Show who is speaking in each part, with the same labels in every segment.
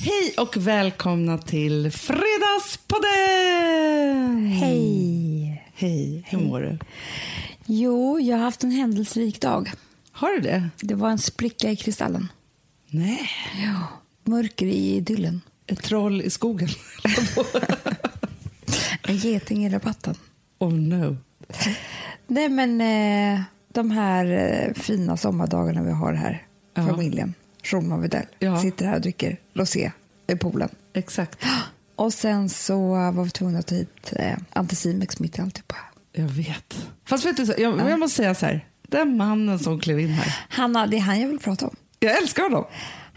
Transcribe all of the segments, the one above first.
Speaker 1: Hej och välkomna till Fredagspodden!
Speaker 2: Hej!
Speaker 1: Hej, hur mår du?
Speaker 2: Jo, jag har haft en händelserik dag.
Speaker 1: Har du det?
Speaker 2: Det var en spricka i kristallen.
Speaker 1: Nej.
Speaker 2: Ja. Mörker i idyllen.
Speaker 1: Ett troll i skogen?
Speaker 2: En geting i rabatten.
Speaker 1: oh no.
Speaker 2: Nej, men eh, de här eh, fina sommardagarna vi har här,
Speaker 1: Ja.
Speaker 2: familjen, Schulman Widell,
Speaker 1: Ja.
Speaker 2: sitter här och dricker rosé i poolen.
Speaker 1: Exakt.
Speaker 2: Och sen så var vi tvungna att ta hit eh, Anticimex mitt i alltihopa.
Speaker 1: Jag vet. Fast vet du, så- jag, jag måste säga så här. Den mannen som klev in här.
Speaker 2: Hanna, det är han jag vill prata om.
Speaker 1: Jag älskar honom.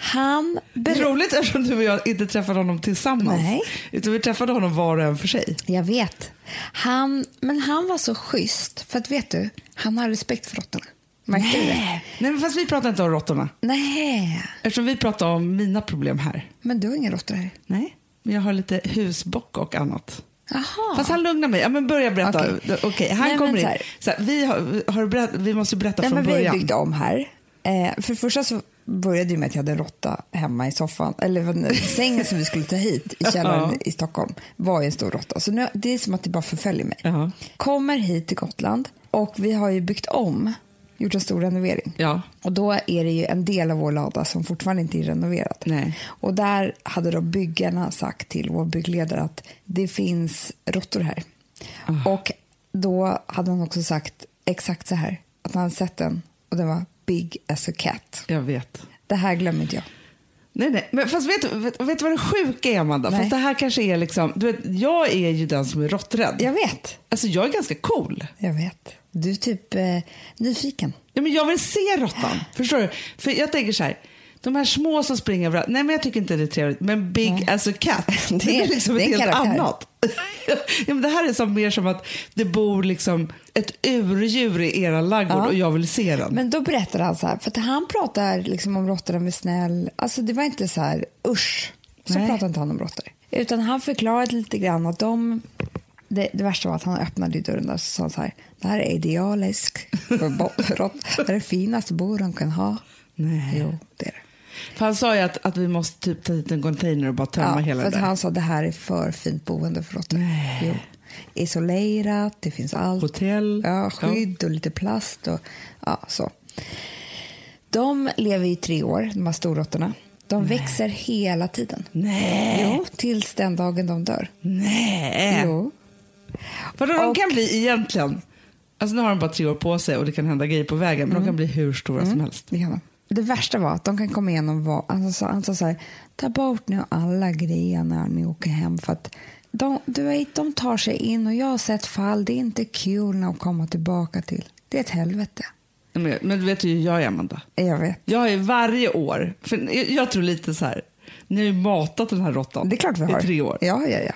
Speaker 2: Han
Speaker 1: Det är
Speaker 2: ber-
Speaker 1: roligt eftersom du och jag inte träffade honom tillsammans.
Speaker 2: Nej.
Speaker 1: Utan vi träffade honom var och en för sig.
Speaker 2: Jag vet. Han, men han var så schysst, för att vet du, han har respekt för råttorna. Märkte du det?
Speaker 1: Nej, men fast vi pratade inte om råttorna.
Speaker 2: Nej,
Speaker 1: Eftersom vi pratade om mina problem här.
Speaker 2: men du har inga råttor här.
Speaker 1: Nej, men jag har lite husbock och annat.
Speaker 2: Jaha.
Speaker 1: Fast han lugnar mig. Ja, men börja berätta. Okej,
Speaker 2: Okej.
Speaker 1: han
Speaker 2: Nej, men
Speaker 1: kommer
Speaker 2: så
Speaker 1: in.
Speaker 2: här.
Speaker 1: Så här, vi, har, har du berätt, vi måste berätta
Speaker 2: Nej,
Speaker 1: från
Speaker 2: men vi har
Speaker 1: början.
Speaker 2: byggt om här. Eh, för det första så började det ju med att jag hade en råtta hemma i soffan, eller vad nu, sängen som vi skulle ta hit i källaren
Speaker 1: Ja.
Speaker 2: i Stockholm var ju en stor råtta. Så nu, det är som att det bara förföljer mig.
Speaker 1: Ja.
Speaker 2: Kommer hit till Gotland och vi har ju byggt om, gjort en stor renovering.
Speaker 1: Ja.
Speaker 2: Och då är det ju en del av vår lada som fortfarande inte är renoverad.
Speaker 1: Nej.
Speaker 2: Och där hade då byggarna sagt till vår byggledare att det finns råttor här. Och då hade han också sagt exakt så här, att han hade sett den och den var big as a cat.
Speaker 1: Jag vet.
Speaker 2: Det här glömmer inte jag.
Speaker 1: Nej, nej. Men fast vet, du- vet, vet du vad det sjuka är, Amanda?
Speaker 2: Nej.
Speaker 1: Fast det här kanske är liksom... Du vet, jag är ju den som är råtträdd.
Speaker 2: Jag vet,
Speaker 1: Alltså, jag är ganska cool.
Speaker 2: jag vet. Du är typ eh, nyfiken.
Speaker 1: Ja, men jag vill se råttan. Förstår du? För jag tänker så här. De här små som springer överallt. Nej, men jag tycker inte det är trevligt. Men big as a cat. Det, är liksom
Speaker 2: det är
Speaker 1: ett
Speaker 2: en
Speaker 1: helt
Speaker 2: karaktär.
Speaker 1: annat. ja, men det här är som, mer som att det bor liksom ett urdjur i era ladugård
Speaker 2: Ja.
Speaker 1: och jag vill se den.
Speaker 2: Men då berättar han så här, för att han pratar liksom om råttor med snäll, alltså det var inte så här usch, så
Speaker 1: Nej.
Speaker 2: pratar inte han om råttor. Utan han förklarade lite grann att de, det, det värsta var att han öppnade ju dörren där och så sa han så här, det här är idealiskt för bo- rått- det här är det finaste bo de kan ha.
Speaker 1: Nej.
Speaker 2: Jo, det är det.
Speaker 1: För han sa ju att, att vi måste typ ta hit en container och bara tömma
Speaker 2: Ja,
Speaker 1: hela
Speaker 2: för
Speaker 1: det
Speaker 2: att
Speaker 1: där.
Speaker 2: han sa det här är för fint boende för råttor.
Speaker 1: Nej.
Speaker 2: Jo. Isolerat, det finns allt.
Speaker 1: Hotell.
Speaker 2: Ja, skydd och lite plast och ja, så. De lever i tre år, de här storråttorna. De växer hela tiden.
Speaker 1: Nej.
Speaker 2: Jo, tills den dagen de dör.
Speaker 1: Nej.
Speaker 2: Jo.
Speaker 1: Vadå de
Speaker 2: Och-
Speaker 1: kan bli egentligen? Alltså nu har de bara tre år på sig och det kan hända grejer på vägen.
Speaker 2: Mm.
Speaker 1: Men de kan bli hur stora som helst.
Speaker 2: Det, kan de. det värsta var att de kan komma igenom vad... Han sa, han sa så här, ta bort nu alla grejer när ni åker hem för att de, du vet, de tar sig in och jag har sett fall, det är inte kul när de kommer tillbaka till. Det är ett helvete.
Speaker 1: Men, men du vet du hur jag är Amanda.
Speaker 2: Jag vet.
Speaker 1: Jag är varje år, för jag- jag tror lite så här, ni har ju matat den här råttan
Speaker 2: Det är klart vi har.
Speaker 1: i tre år.
Speaker 2: Ja, ja, ja.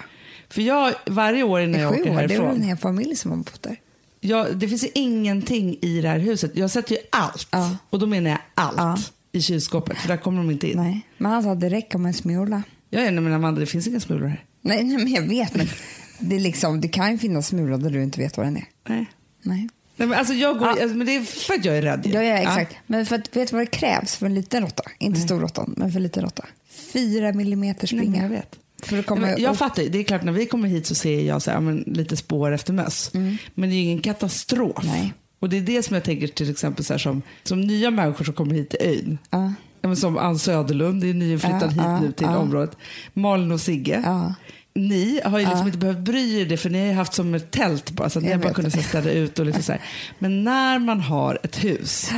Speaker 1: För jag, varje år
Speaker 2: Det
Speaker 1: innan
Speaker 2: är
Speaker 1: jag
Speaker 2: sju
Speaker 1: åker
Speaker 2: år, det är väl en
Speaker 1: härifrån,
Speaker 2: hel familj som har bott där.
Speaker 1: jag, det finns ju ingenting i det här huset. Jag sätter ju allt,
Speaker 2: Ja.
Speaker 1: och då menar jag allt,
Speaker 2: Ja.
Speaker 1: i kylskåpet, för där kommer de inte in.
Speaker 2: Nej, men han sa att det räcker med en smula.
Speaker 1: Jag är en av mina Amanda, det finns inga smulor här.
Speaker 2: Nej, nej men jag vet, men det, är liksom, det kan ju finnas smulor där du inte vet vad den är.
Speaker 1: Nej.
Speaker 2: Nej.
Speaker 1: Nej, men, alltså jag går,
Speaker 2: Ja.
Speaker 1: alltså, men det är för att jag är rädd. ju.
Speaker 2: Ja, ja, exakt. Men för att, vet du vad det krävs för en liten råtta? Inte storråttan, men för en liten råtta. Fyra millimeter
Speaker 1: Nej, men
Speaker 2: springa.
Speaker 1: jag vet.
Speaker 2: För att komma
Speaker 1: Nej, men jag
Speaker 2: upp.
Speaker 1: fattar ju, det är klart när vi kommer hit så ser jag så här, ja, men, lite spår efter möss. Men det är ju ingen katastrof.
Speaker 2: Mm. Nej.
Speaker 1: Och det är det som jag tänker till exempel så här, som, som nya människor som kommer hit till ön.
Speaker 2: Ja.
Speaker 1: Ja, men som Ann Söderlund, det är nyinflyttad
Speaker 2: Ja,
Speaker 1: hit
Speaker 2: ja,
Speaker 1: nu till
Speaker 2: ja.
Speaker 1: området. Malin och Sigge.
Speaker 2: Ja.
Speaker 1: Ni har ju liksom inte behövt bry er det för ni har ju haft som ett tält bara så att ni
Speaker 2: Jag
Speaker 1: har bara
Speaker 2: vet.
Speaker 1: kunnat så här städa ut och liksom så här. Men när man har ett hus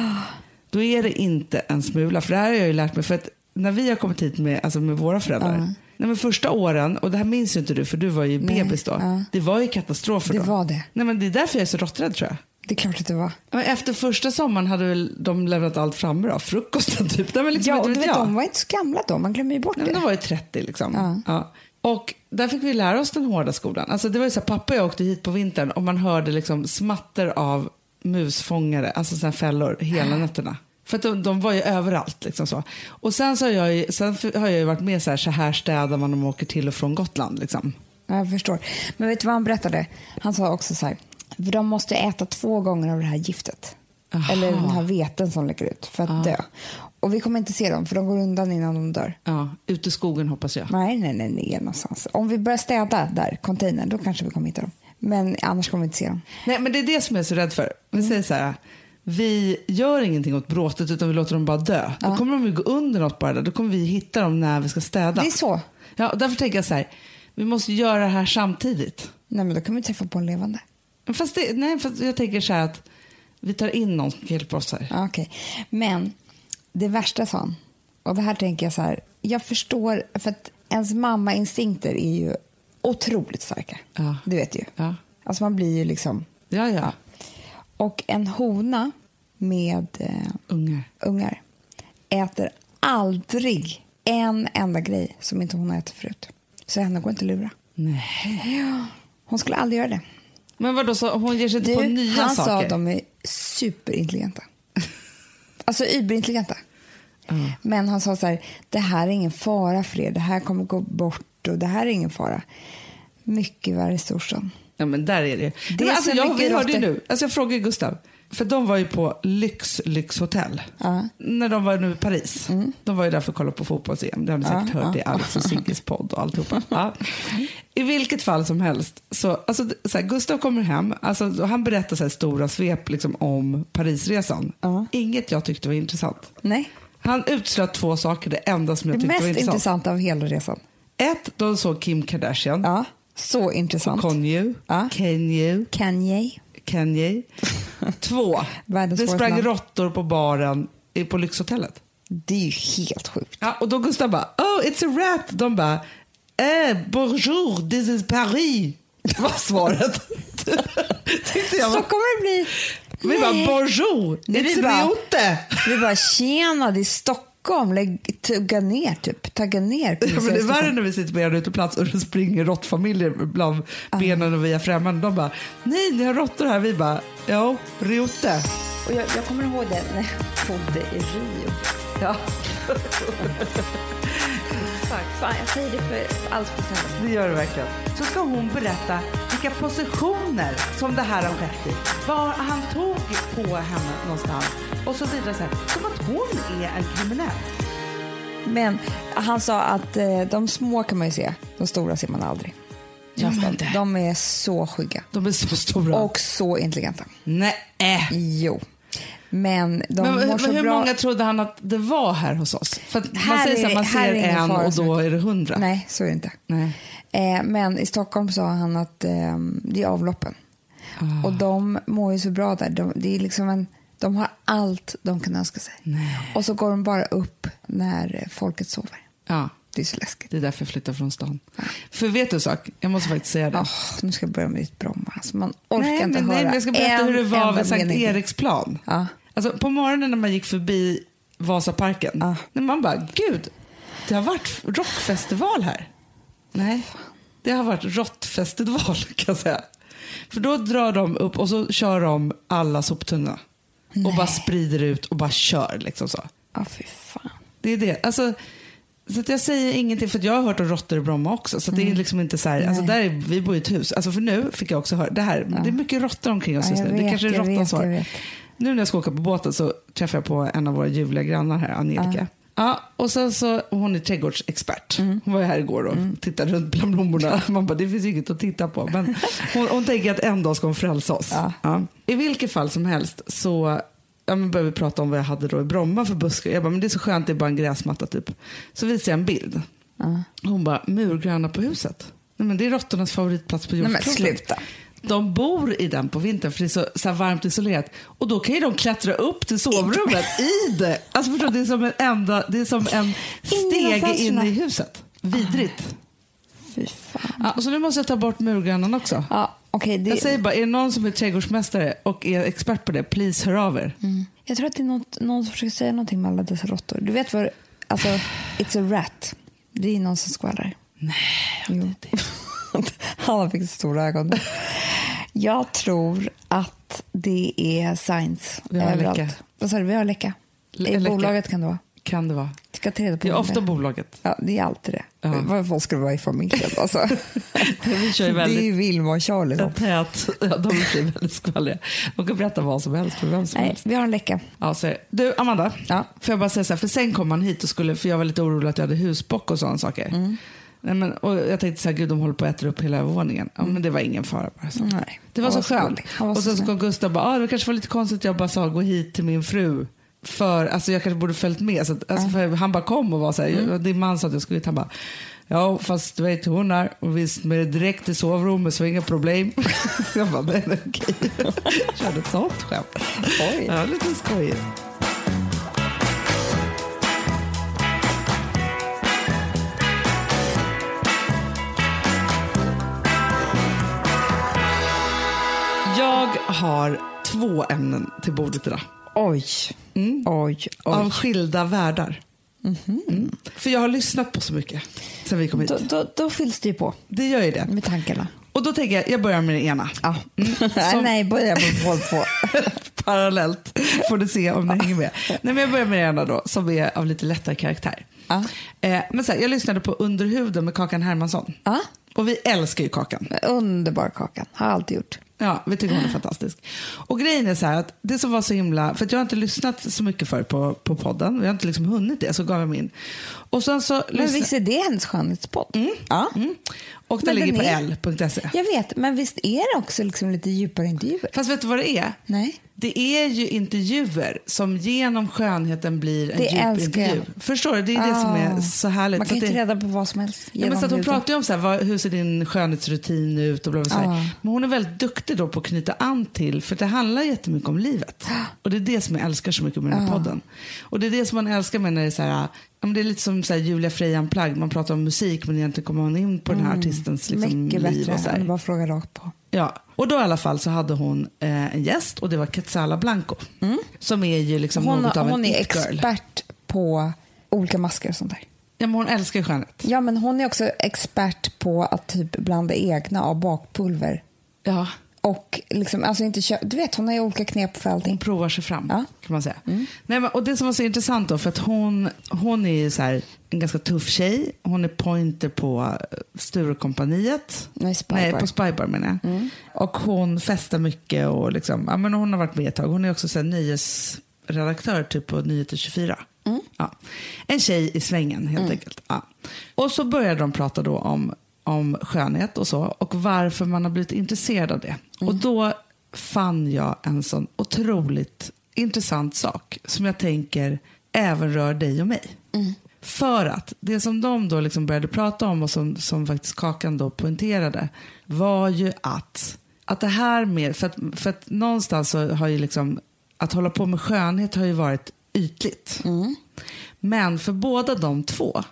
Speaker 1: då är det inte en smula. För det här har jag ju lärt mig. För att när vi har kommit hit med, alltså med våra föräldrar. Nej, men första åren, och det här minns ju inte du för du var ju
Speaker 2: Nej,
Speaker 1: bebis då.
Speaker 2: ja.
Speaker 1: Det var ju katastrofer
Speaker 2: Det
Speaker 1: då.
Speaker 2: var det.
Speaker 1: Nej, men det är därför jag är så råtträdd tror jag.
Speaker 2: Det är klart att det var.
Speaker 1: Ja, men Efter första sommaren hade väl de lämnat allt framme då. Frukosten typ. Nej, men liksom,
Speaker 2: Ja,
Speaker 1: inte
Speaker 2: och du vet,
Speaker 1: jag.
Speaker 2: de var inte så gamla då. Man glömmer ju bort
Speaker 1: Nej, men
Speaker 2: det.
Speaker 1: de var ju 30 liksom. Ja. Och där fick vi lära oss den hårda skolan. Alltså det var ju så här, pappa och jag åkte hit på vintern och man hörde liksom smatter av musfångare, alltså sådana här fällor, hela nätterna. För att de, de var ju överallt. Liksom så. Och sen, så har jag ju, sen f- har jag ju varit med så här, så här städar man om man åker till och från Gotland. Liksom.
Speaker 2: Ja, jag förstår. Men vet du vad han berättade? Han sa också så här, för de måste äta två gånger av det här giftet.
Speaker 1: Aha.
Speaker 2: Eller den här veten som läcker ut för att dö. Och vi kommer inte se dem för de går undan innan de dör.
Speaker 1: Ja, ut i skogen hoppas jag.
Speaker 2: Nej, nej, nej, nej någonstans. Om vi börjar städa där, containern, då kanske vi kommer hitta dem. Men annars kommer vi inte se dem.
Speaker 1: Nej, men det är det som jag är så rädd för. Vi säger så här, vi gör ingenting åt bråtet utan vi låter dem bara dö. Då kommer de ju gå under något bara där. Då kommer vi hitta dem när vi ska städa.
Speaker 2: Det är så.
Speaker 1: Ja, och därför tänker jag så här, vi måste göra det här samtidigt.
Speaker 2: Nej, men då kan vi träffa på en levande.
Speaker 1: Men Fast, det, nej, fast jag tänker så här att vi tar in någon som hjälper oss här.
Speaker 2: Ja, Okej. Men det värsta sa han, och det här tänker jag så här, jag förstår, för att ens mammainstinkter är ju otroligt starka.
Speaker 1: Ja.
Speaker 2: Du vet ju.
Speaker 1: Ja,
Speaker 2: Alltså man blir ju liksom...
Speaker 1: ja, ja.
Speaker 2: Och en hona med eh,
Speaker 1: ungar.
Speaker 2: ungar äter aldrig en enda grej som inte hon har ätit förut. Så henne går inte att lura.
Speaker 1: Nej.
Speaker 2: Hon skulle aldrig göra det.
Speaker 1: Men vadå, så hon ger sig inte på
Speaker 2: Du,
Speaker 1: nya
Speaker 2: han sa
Speaker 1: saker?
Speaker 2: att de är superintelligenta. Alltså überintelligenta.
Speaker 1: Mm.
Speaker 2: Men han sa så här, det här är ingen fara för er, det här kommer gå bort och det här är ingen fara. Mycket värre i storstaden.
Speaker 1: Ja, men där är det ju.
Speaker 2: Det
Speaker 1: men
Speaker 2: är
Speaker 1: alltså,
Speaker 2: så
Speaker 1: jag,
Speaker 2: mycket
Speaker 1: vi hörde ju
Speaker 2: råttor.
Speaker 1: nu, alltså jag frågade Gustav, för de var ju på Lyx Lyxhotell.
Speaker 2: Ja. Mm.
Speaker 1: När de var nu i Paris. De var ju där för att kolla på fotbolls-EM. Det har ni säkert
Speaker 2: Ja,
Speaker 1: hört
Speaker 2: ja.
Speaker 1: i Alex och Sigges podd och alltihopa. ja. I vilket fall som helst, så, alltså, d- så här, Gustav kommer hem, alltså, och han berättar så här, stora svep liksom, om Parisresan.
Speaker 2: Ja.
Speaker 1: Inget jag tyckte var intressant.
Speaker 2: Nej,
Speaker 1: Han utslöt två saker, det enda som jag
Speaker 2: det
Speaker 1: tyckte
Speaker 2: mest
Speaker 1: var intressant.
Speaker 2: intressanta av hela resan.
Speaker 1: Ett, de såg Kim Kardashian,
Speaker 2: Ja, så intressant.
Speaker 1: Kanye,
Speaker 2: Ja.
Speaker 1: Kanye,
Speaker 2: Kanye.
Speaker 1: Kanye. Två,
Speaker 2: Världens
Speaker 1: det
Speaker 2: svåraste
Speaker 1: sprang
Speaker 2: namn.
Speaker 1: råttor på baren i- på Lyxhotellet.
Speaker 2: Det är ju helt sjukt.
Speaker 1: Ja, och då Gustav bara, oh it's a rat. De bara, eh, bonjour, this is Paris. var svaret. Tyckte jag
Speaker 2: Så
Speaker 1: var.
Speaker 2: kommer det bli.
Speaker 1: Vi bara,
Speaker 2: Nej.
Speaker 1: bonjour,
Speaker 2: Nej, vi
Speaker 1: it's
Speaker 2: bara-
Speaker 1: Riote.
Speaker 2: Vi bara, tjena, det är Stockholm. Lägg, tugga ner, typ. Tagga ner. kommer
Speaker 1: Ja, men
Speaker 2: vi säga
Speaker 1: det
Speaker 2: i
Speaker 1: är värre
Speaker 2: Stockholm.
Speaker 1: när vi sitter på er uteplats och det springer råttfamiljer bland
Speaker 2: Ah.
Speaker 1: benen och vi är främmande. De bara, nej ni har råttor här. Vi bara, ja, Riote.
Speaker 2: Och jag, jag kommer ihåg det när jag bodde i Rio.
Speaker 1: Ja,
Speaker 2: Exakt. Fan, jag säger det för allt på sen.
Speaker 1: det gör det verkligen. Så ska hon berätta vilka positioner som det här har skett i. Var han tog på henne någonstans och så vidare. Så här, som att hon är en kriminell.
Speaker 2: Men han sa att eh, de små kan man ju se, de stora ser man aldrig.
Speaker 1: Gör man
Speaker 2: Nästan.
Speaker 1: inte?
Speaker 2: De är så skygga
Speaker 1: De är så stora.
Speaker 2: och så intelligenta.
Speaker 1: nej.
Speaker 2: Jo, men de
Speaker 1: Men
Speaker 2: mår
Speaker 1: hur,
Speaker 2: så
Speaker 1: hur
Speaker 2: bra.
Speaker 1: många trodde han att det var här hos oss? För att man
Speaker 2: Här
Speaker 1: säger
Speaker 2: är-
Speaker 1: så här, man
Speaker 2: här är
Speaker 1: ser
Speaker 2: ingen
Speaker 1: en
Speaker 2: fara
Speaker 1: och
Speaker 2: som
Speaker 1: då är det hundra.
Speaker 2: Nej, så är det inte.
Speaker 1: Nej.
Speaker 2: Eh, men i Stockholm sa han att eh, det är avloppen.
Speaker 1: Ah.
Speaker 2: Och de mår ju så bra där. De, det är liksom en, de har allt de kan önska sig.
Speaker 1: Nej.
Speaker 2: Och så går de bara upp när folket sover.
Speaker 1: Ja,
Speaker 2: Det är så läskigt.
Speaker 1: det är därför jag flyttar från stan. För vet du en sak? Jag måste faktiskt säga det.
Speaker 2: Åh, nu ska jag börja med ditt Bromma. Alltså, man orkar
Speaker 1: nej,
Speaker 2: inte
Speaker 1: men,
Speaker 2: höra
Speaker 1: nej, men jag ska berätta
Speaker 2: en
Speaker 1: hur det var
Speaker 2: enda
Speaker 1: vid Sankt
Speaker 2: mening.
Speaker 1: Eriksplan.
Speaker 2: Ja.
Speaker 1: Alltså, på morgonen när man gick förbi Vasaparken,
Speaker 2: Ja.
Speaker 1: när man bara, gud, det har varit rockfestival här. Nej, det har varit råttfestival kan jag säga. För då drar de upp och så kör de alla soptunnorna. Och
Speaker 2: Nej.
Speaker 1: bara sprider ut och bara kör liksom så.
Speaker 2: Ja, fy fan.
Speaker 1: Det är det. Alltså, så att jag säger ingenting för att jag har hört om råttor i Bromma också. Så att det är liksom inte så här, alltså
Speaker 2: Mm. Nej.
Speaker 1: där är, vi bor i ett hus. Alltså för nu fick jag också höra, det här, det är mycket råttor omkring oss
Speaker 2: Ja,
Speaker 1: just nu.
Speaker 2: jag
Speaker 1: det
Speaker 2: vet,
Speaker 1: kanske är
Speaker 2: jag
Speaker 1: råttans
Speaker 2: vet, jag
Speaker 1: svar.
Speaker 2: vet.
Speaker 1: Nu när jag ska åka på båten så träffar jag på en av våra ljuvliga grannar här, Angelica. Ja.
Speaker 2: Ah.
Speaker 1: och sen så, och hon är trädgårdsexpert.
Speaker 2: Mm.
Speaker 1: Hon var ju här igår och tittade runt bland blommorna. Man bara, det finns ju inget att titta på. Men hon, hon tänker att en dag ska hon frälsa oss.
Speaker 2: Ja.
Speaker 1: Ja. I vilket fall som helst så ja, men började vi prata om vad jag hade då i Bromma för buskar. Jag bara, men det är så skönt, det är bara en gräsmatta typ. Så visade jag en bild.
Speaker 2: Ja.
Speaker 1: Hon bara, murgröna på huset. Nej, men det är råttornas favoritplats på
Speaker 2: Nej, men
Speaker 1: jordklotet.
Speaker 2: sluta.
Speaker 1: De bor i den på vintern för det är så, så här varmt isolerat. Och då kan ju de klättra upp till sovrummet i det. Alltså förstår du, det är som en, enda, det är som en stege in
Speaker 2: fönstren.
Speaker 1: i huset. Vidrigt.
Speaker 2: Fy fan.
Speaker 1: Ja, och så nu måste jag ta bort murgrannen också.
Speaker 2: Ja, okej. det,
Speaker 1: Jag säger bara, är det någon som är trädgårdsmästare och är expert på det, please hör av er.
Speaker 2: Mm. Jag tror att det är något, någon som försöker säga någonting med alla dessa råttor. Du vet vad, alltså, it's a rat. Det är någon som skvallrar. Nej, Han har faktiskt stora ögon. Jag tror att det är science
Speaker 1: Vi har en läcka.
Speaker 2: överallt. Vad sa du, vi har en läcka.
Speaker 1: L-
Speaker 2: I
Speaker 1: en läcka.
Speaker 2: bolaget kan det vara.
Speaker 1: Kan det vara.
Speaker 2: Det ska ta reda
Speaker 1: Det
Speaker 2: på
Speaker 1: är
Speaker 2: om
Speaker 1: ofta bolaget.
Speaker 2: Ja, det är alltid det.
Speaker 1: Ja.
Speaker 2: Varför ska det vara i familjen? Alltså.
Speaker 1: Vi kör ju
Speaker 2: det är
Speaker 1: väldigt
Speaker 2: ju Vilma och Charlie. Då.
Speaker 1: en tät, ja, de är ju väldigt skvallriga. De kan berätta vad som helst för vem som
Speaker 2: Nej,
Speaker 1: helst.
Speaker 2: vi har en läcka.
Speaker 1: Ja, så är det. Du, Amanda.
Speaker 2: Ja.
Speaker 1: Får jag bara säga så här, för sen kom han hit och skulle, för jag var lite orolig att jag hade husbock och sådana saker.
Speaker 2: Mm.
Speaker 1: Nej, men, och jag tänkte så här, gud de håller på att äta upp hela övervåningen. Ja, men det var ingen fara bara. Så.
Speaker 2: Nej,
Speaker 1: Det var
Speaker 2: Mm. han
Speaker 1: så
Speaker 2: var så
Speaker 1: skönt.
Speaker 2: gullig. Han var
Speaker 1: Och
Speaker 2: så
Speaker 1: sen så
Speaker 2: snäll.
Speaker 1: kom Gustav och bara, ah, det kanske var lite konstigt att jag bara sa gå hit till min fru. För alltså, jag kanske borde följt med. Så att, alltså, för han bara kom och var så här,
Speaker 2: Mm.
Speaker 1: din man sa att jag skulle hit. Han bara, ja fast du vet hur hon är. Och visst med det direkt till sovrummet så inga problem. jag bara, nej nej, okej. Körde ett sånt skämt.
Speaker 2: Oj.
Speaker 1: Ja, lite skojigt. Jag har två ämnen till bordet idag. Mm.
Speaker 2: Oj, oj,
Speaker 1: Av
Speaker 2: oj. Mhm.
Speaker 1: skilda världar. Mm. För jag har lyssnat på så mycket sen vi kom hit.
Speaker 2: Då, då, då fylls det ju på
Speaker 1: Det gör ju det.
Speaker 2: med tankarna.
Speaker 1: Och då tänker jag, jag börjar med den ena. Mm.
Speaker 2: Ja. Nej,
Speaker 1: Som-
Speaker 2: nej, börja med håll på.
Speaker 1: Parallellt får du se om ni hänger med. Nej, men jag börjar med den ena då, som är av lite lättare karaktär.
Speaker 2: Ja.
Speaker 1: Eh, men så här, jag lyssnade på Under huden med Kakan Hermansson.
Speaker 2: Ja.
Speaker 1: Och vi älskar ju Kakan.
Speaker 2: Underbar Kakan, har alltid gjort.
Speaker 1: Ja, vi tycker hon är fantastisk. Och grejen är så här att det som var så himla, för att jag har inte lyssnat så mycket för på, på podden, jag har inte liksom hunnit det, så gav jag mig in. Och sen så
Speaker 2: Men
Speaker 1: lyssna-
Speaker 2: visst är det hennes skönhetspodd? Ja.
Speaker 1: Mm. Och den
Speaker 2: Men
Speaker 1: ligger
Speaker 2: den
Speaker 1: på
Speaker 2: är-
Speaker 1: l.se.
Speaker 2: Jag vet, men visst är det också liksom lite djupare intervjuer?
Speaker 1: Fast vet du vad det är?
Speaker 2: Nej.
Speaker 1: Det är ju intervjuer som genom skönheten blir en
Speaker 2: Det
Speaker 1: djup
Speaker 2: älskar jag.
Speaker 1: intervju. Förstår du? Det är det som är
Speaker 2: Ah.
Speaker 1: så härligt.
Speaker 2: Man
Speaker 1: Så
Speaker 2: kan
Speaker 1: att
Speaker 2: ju
Speaker 1: det...
Speaker 2: inte reda på vad som helst.
Speaker 1: Ja, men
Speaker 2: genom
Speaker 1: så att hon
Speaker 2: huden.
Speaker 1: pratar ju om så här, vad, hur ser din skönhetsrutin ut och bla bla, bla, så här.
Speaker 2: Ja.
Speaker 1: Men hon är väldigt duktig då på att knyta an till, för det handlar jättemycket om livet. Och det är det som jag älskar så mycket med
Speaker 2: Ah.
Speaker 1: den här podden. Och det är det som man älskar med när det är så här, ja, men det är lite som så här Julia Frejan plagg man pratar om musik men egentligen kommer man in på den här artistens liksom,
Speaker 2: Mm. Mycket
Speaker 1: liv.
Speaker 2: bättre
Speaker 1: Och så
Speaker 2: än att
Speaker 1: här.
Speaker 2: bara fråga rakt på.
Speaker 1: Ja. Och då i alla fall så hade hon eh, en gäst och det var Quetzala Blanco. Som är ju liksom
Speaker 2: Mm. Hon,
Speaker 1: något av
Speaker 2: hon
Speaker 1: en
Speaker 2: är
Speaker 1: it-girl.
Speaker 2: expert på olika masker och sånt där.
Speaker 1: Ja, men hon älskar ju skönhet.
Speaker 2: Ja, men hon är också expert på att typ blanda egna av bakpulver.
Speaker 1: Ja.
Speaker 2: Och liksom, alltså inte kö- du vet, hon har ju olika knep för allting.
Speaker 1: Hon provar sig fram
Speaker 2: Ja. Mm.
Speaker 1: kan man säga. Nej, men, och det som var så intressant då, för att hon, hon är ju så här, en ganska tuff tjej. Hon är pointer på eh, Sturecompagniet.
Speaker 2: Nej, Spy
Speaker 1: Nej,
Speaker 2: Bar.
Speaker 1: på Spybar menar jag. Och hon festar mycket och liksom, ja, men hon har varit med ett tag. Hon är också så här, nyhetsredaktör typ på Nyheter 24. Ja. En tjej i svängen helt enkelt. Ja. Och så började de prata då om, om skönhet och så och varför man har blivit intresserad av det. Och då fann jag en sån otroligt intressant sak som jag tänker även rör dig och mig. För att det som de då liksom började prata om och som, som faktiskt Kakan då poängterade var ju att, att det här med, för att, för att någonstans så har ju liksom, att hålla på med skönhet har ju varit ytligt. Men för båda de två,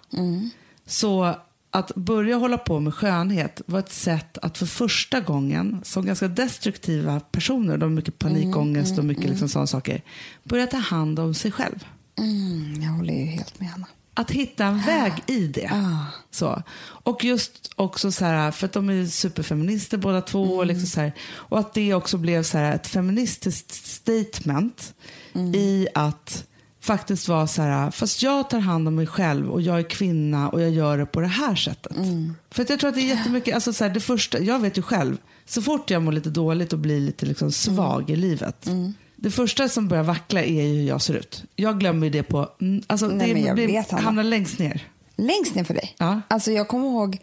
Speaker 1: så att börja hålla på med skönhet var ett sätt att för första gången, som ganska destruktiva personer, de har mycket panikångest och mycket liksom sådana saker, börja ta hand om sig själv
Speaker 2: Mm, jag håller ju helt med Anna.
Speaker 1: att hitta en väg i det.
Speaker 2: Ah.
Speaker 1: Så. Och just också så här, för att de är superfeminister båda två.
Speaker 2: Mm.
Speaker 1: Och, liksom så här, och att det också blev så här ett feministiskt statement
Speaker 2: Mm.
Speaker 1: i att faktiskt vara så här, fast jag tar hand om mig själv och jag är kvinna och jag gör det på det här sättet.
Speaker 2: Mm.
Speaker 1: För att jag tror att det är jättemycket, alltså så här, det första, jag vet ju själv, så fort jag mår lite dåligt och blir lite
Speaker 2: Mm.
Speaker 1: liksom svag i livet, det första som börjar vackla är ju hur jag ser ut. Jag glömmer ju det på, mm, alltså
Speaker 2: Nej,
Speaker 1: det
Speaker 2: men jag
Speaker 1: blir,
Speaker 2: vet, Hanna.
Speaker 1: hamnar längst ner.
Speaker 2: Längst ner för dig.
Speaker 1: Ja.
Speaker 2: Alltså jag kommer ihåg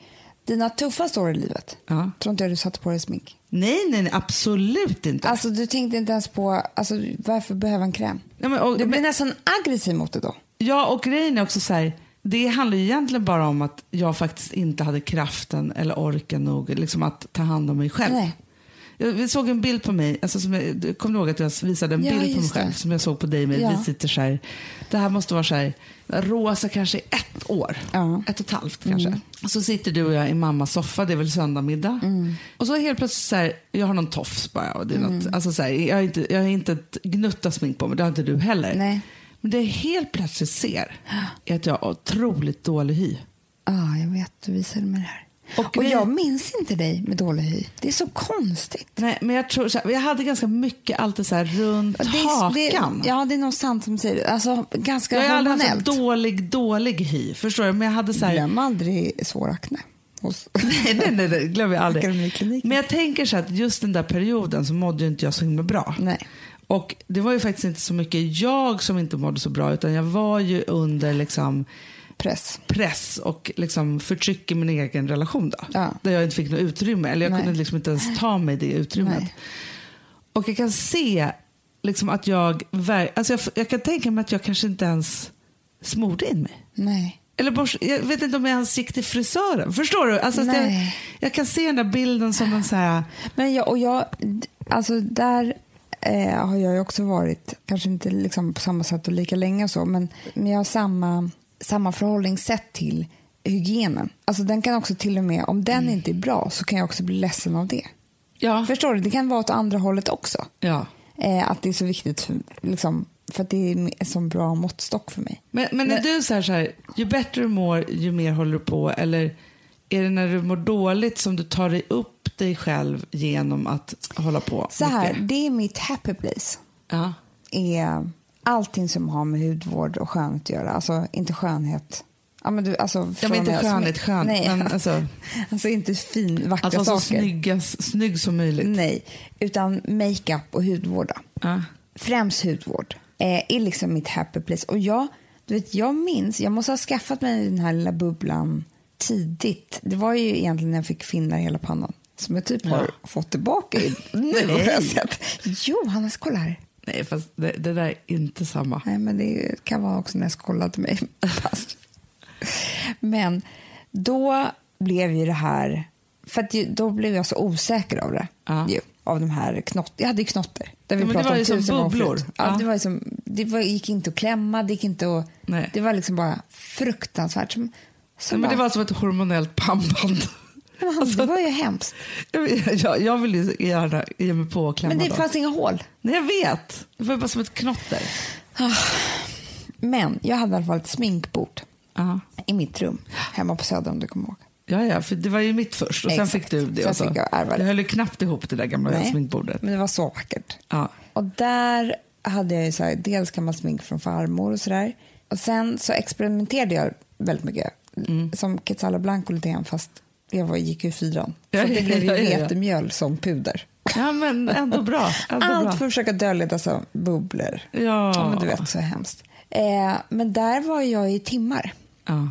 Speaker 2: dina tuffaste år i livet.
Speaker 1: Ja.
Speaker 2: Tror inte jag du satte på dig smink.
Speaker 1: Nej, nej, nej absolut inte.
Speaker 2: Alltså du tänkte inte ens på, alltså varför behöva en kräm?
Speaker 1: Ja, men, och,
Speaker 2: Du blir
Speaker 1: men,
Speaker 2: nästan aggressiv mot det då.
Speaker 1: ja, och grejen är också så här, det handlar ju egentligen bara om att jag faktiskt inte hade kraften eller orken nog liksom, att ta hand om mig själv.
Speaker 2: Nej.
Speaker 1: Jag, vi såg en bild på mig, alltså, som jag, du kommer ihåg att jag visade en
Speaker 2: Ja,
Speaker 1: bild på mig
Speaker 2: just det.
Speaker 1: själv som jag såg på dig med.
Speaker 2: Ja.
Speaker 1: Vi sitter så här, det här måste vara så här, rosa kanske i ett år,
Speaker 2: Ja. Mm.
Speaker 1: ett och ett halvt kanske. Så sitter du och jag i mammas soffa, det är väl söndag middag.
Speaker 2: Mm.
Speaker 1: Och så helt plötsligt så här, jag har någon tofs bara. Och det är något, alltså så här, jag, har inte, jag har inte ett gnutta smink på mig, det har inte du heller.
Speaker 2: Nej.
Speaker 1: Men det jag helt plötsligt ser är att jag har otroligt dålig hy.
Speaker 2: Ja, jag vet. Ah, Du visade mig det här. Och,
Speaker 1: grejen-
Speaker 2: jag minns inte dig med dålig hy. Det är så konstigt.
Speaker 1: Nej, men jag tror så här, jag hade ganska mycket alltid så här runt
Speaker 2: Det är,
Speaker 1: hakan.
Speaker 2: det, ja, det är nog sant som säger. Alltså ganska
Speaker 1: jag har aldrig haft
Speaker 2: hormonellt.
Speaker 1: så dålig, dålig hy. Förstår du? Men jag hade så här,
Speaker 2: Glöm aldrig svår akne. Hos...
Speaker 1: nej, nej, nej, det glömmer jag aldrig.
Speaker 2: Akademikliniken.
Speaker 1: Men jag tänker så här att just den där perioden så mådde ju inte jag så himla bra.
Speaker 2: Nej.
Speaker 1: Och det var ju faktiskt inte så mycket jag som inte mådde så bra utan jag var ju under liksom
Speaker 2: Press.
Speaker 1: press och liksom förtryck i min egen relation då.
Speaker 2: Ja.
Speaker 1: Där jag inte fick något utrymme. Eller jag
Speaker 2: Nej.
Speaker 1: kunde liksom inte ens ta mig det utrymmet.
Speaker 2: Nej.
Speaker 1: Och jag kan se liksom att jag, ver- alltså jag, f- jag kan tänka mig att jag kanske inte ens smorde in mig.
Speaker 2: Nej.
Speaker 1: Eller borst, jag vet inte om jag ens gick till frisören. Förstår du? Alltså att jag,
Speaker 2: Nej.
Speaker 1: jag kan se den där bilden som en så här,
Speaker 2: Men jag, och jag, alltså där eh, har jag ju också varit, kanske inte liksom på samma sätt och lika länge och så, men, men jag har samma, samma förhållningssätt till hygienen. Alltså den kan också till och med, om den inte är bra så kan jag också bli ledsen av det.
Speaker 1: ja.
Speaker 2: Förstår du? Det kan vara åt andra hållet också.
Speaker 1: ja.
Speaker 2: Eh, att det är så viktigt, för, liksom, för att det är en sån bra måttstock för mig.
Speaker 1: Men, men är
Speaker 2: Men-
Speaker 1: du så här, så här, ju bättre du mår, ju mer håller du på? Eller är det när du mår dåligt som du tar dig upp dig själv genom att hålla på?
Speaker 2: Så här,
Speaker 1: mycket?
Speaker 2: det är mitt happy place.
Speaker 1: Ja.
Speaker 2: är allting som har med hudvård och skönhet att göra. Alltså inte skönhet. Ja, men du, alltså, förstår
Speaker 1: men
Speaker 2: du vad
Speaker 1: inte
Speaker 2: jag-
Speaker 1: skönhet, skön,
Speaker 2: Nej,
Speaker 1: men alltså-
Speaker 2: alltså inte fin, vackra
Speaker 1: Att vara så
Speaker 2: saker.
Speaker 1: snygg, snygg som möjligt.
Speaker 2: Nej, utan makeup och hudvård. Då.
Speaker 1: Ja.
Speaker 2: Främst hudvård eh, är liksom mitt happy place. Och jag, du vet, jag minns, jag måste ha skaffat mig den här lilla bubblan tidigt. Det var ju egentligen när jag fick finnar i hela pannan. Som jag typ har fått tillbaka i- nu. har jag sett. Jo, Hannes, kolla här.
Speaker 1: Nej, fast det, det där är inte samma.
Speaker 2: Nej, men det kan vara också när jag skollade mig. Fast. Men då blev ju det här... För att ju, då blev jag så osäker av det.
Speaker 1: Ja.
Speaker 2: Ju, av de här knott, Jag hade ju knotter. Där vi
Speaker 1: Ja, men det
Speaker 2: pratade
Speaker 1: var
Speaker 2: om
Speaker 1: ju som
Speaker 2: tusen gånger
Speaker 1: bubblor.
Speaker 2: förut. Ja,
Speaker 1: Ja.
Speaker 2: Det, var ju som, det var, gick inte att klämma, det gick inte att...
Speaker 1: Nej.
Speaker 2: Det var liksom bara fruktansvärt. Som, som
Speaker 1: Nej, men det
Speaker 2: bara,
Speaker 1: var som ett hormonellt pannband.
Speaker 2: det, var, det var ju
Speaker 1: Alltså,
Speaker 2: hemskt.
Speaker 1: Jag, jag, jag vill ju gärna ge mig på och klämma
Speaker 2: Men det
Speaker 1: dem.
Speaker 2: fanns inga hål.
Speaker 1: Nej, jag vet. Det var ju bara som ett knotter.
Speaker 2: Men jag hade i alla fall ett sminkbord
Speaker 1: Ja.
Speaker 2: i mitt rum hemma på Söder om du kommer ihåg.
Speaker 1: Ja, ja, för det var ju mitt först och sen
Speaker 2: Exakt.
Speaker 1: fick du det.
Speaker 2: Sen
Speaker 1: och så.
Speaker 2: fick jag ärva det.
Speaker 1: höll ju knappt ihop det där gamla
Speaker 2: Nej,
Speaker 1: sminkbordet.
Speaker 2: Men det var så vackert.
Speaker 1: Ja.
Speaker 2: Och där hade jag ju så här, dels gammalt smink från farmor och sådär. Och sen så experimenterade jag väldigt mycket.
Speaker 1: Mm.
Speaker 2: Som Quetzala Blanco lite grann fast jag var, gick ju i fyran. Så
Speaker 1: Ja,
Speaker 2: det
Speaker 1: ja,
Speaker 2: blev ju
Speaker 1: ja, ja, ja.
Speaker 2: vetemjöl som puder.
Speaker 1: ja, men ändå bra. Ändå
Speaker 2: Allt
Speaker 1: bra.
Speaker 2: för att försöka dölja dessa bubblor.
Speaker 1: Ja.
Speaker 2: men du vet, så hemskt. Eh, men där var jag i timmar
Speaker 1: Ja.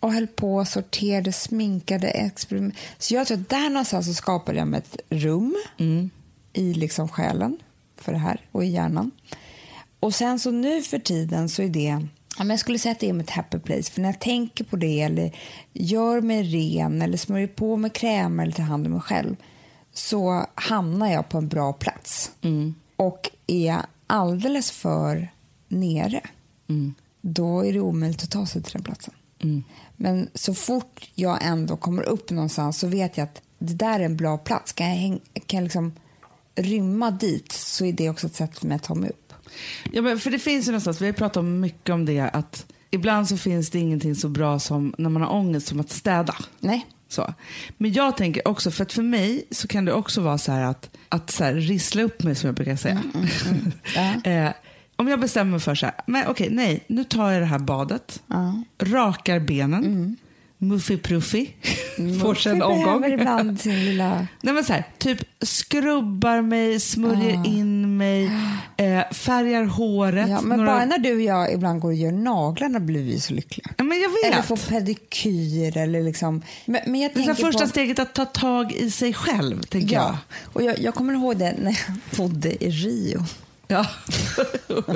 Speaker 2: och höll på, sorterade, sminkade, experiment. Så jag tror att där någonstans så skapade jag mig ett rum i liksom själen för det här och i hjärnan. Och sen så nu för tiden så är det, ja, men jag skulle säga att det är mitt happy place. För när jag tänker på det eller gör mig ren eller smörjer på med krämer eller tar hand om mig själv så hamnar jag på en bra plats. Och är alldeles för nere
Speaker 1: Mm.
Speaker 2: då är det omöjligt att ta sig till den platsen. Men så fort jag ändå kommer upp någonstans så vet jag att det där är en bra plats. Kan jag, häng, kan jag liksom rymma dit så är det också ett sätt för mig att ta mig upp.
Speaker 1: Ja, men för det finns ju någonstans, vi har ju pratat om mycket om det, att ibland så finns det ingenting så bra som när man har ångest som att städa.
Speaker 2: Nej.
Speaker 1: Så. Men jag tänker också, för att för mig så kan det också vara så här att, att så här, rissla upp mig som jag brukar säga.
Speaker 2: Mm,
Speaker 1: eh, om jag bestämmer mig för så här, men okej, nej, nu tar jag det här badet, rakar benen,
Speaker 2: Mm.
Speaker 1: Muffy Pruffy, får sig en
Speaker 2: Jag
Speaker 1: omgång.
Speaker 2: behöver Mm, ibland sin lilla...
Speaker 1: Nej men så här, typ skrubbar mig, smörjer in mig, eh, färgar håret.
Speaker 2: Ah. Ja, men
Speaker 1: några-
Speaker 2: bara när du och jag ibland går och gör naglarna blir vi så lyckliga.
Speaker 1: Ja, men jag vet.
Speaker 2: Eller får pedikyr eller liksom... Men, men jag
Speaker 1: Det är så
Speaker 2: tänker
Speaker 1: här första
Speaker 2: på...
Speaker 1: steget att ta tag i sig själv, tänker
Speaker 2: Ja, och jag, jag kommer ihåg det när jag bodde i Rio.
Speaker 1: jag. Ja.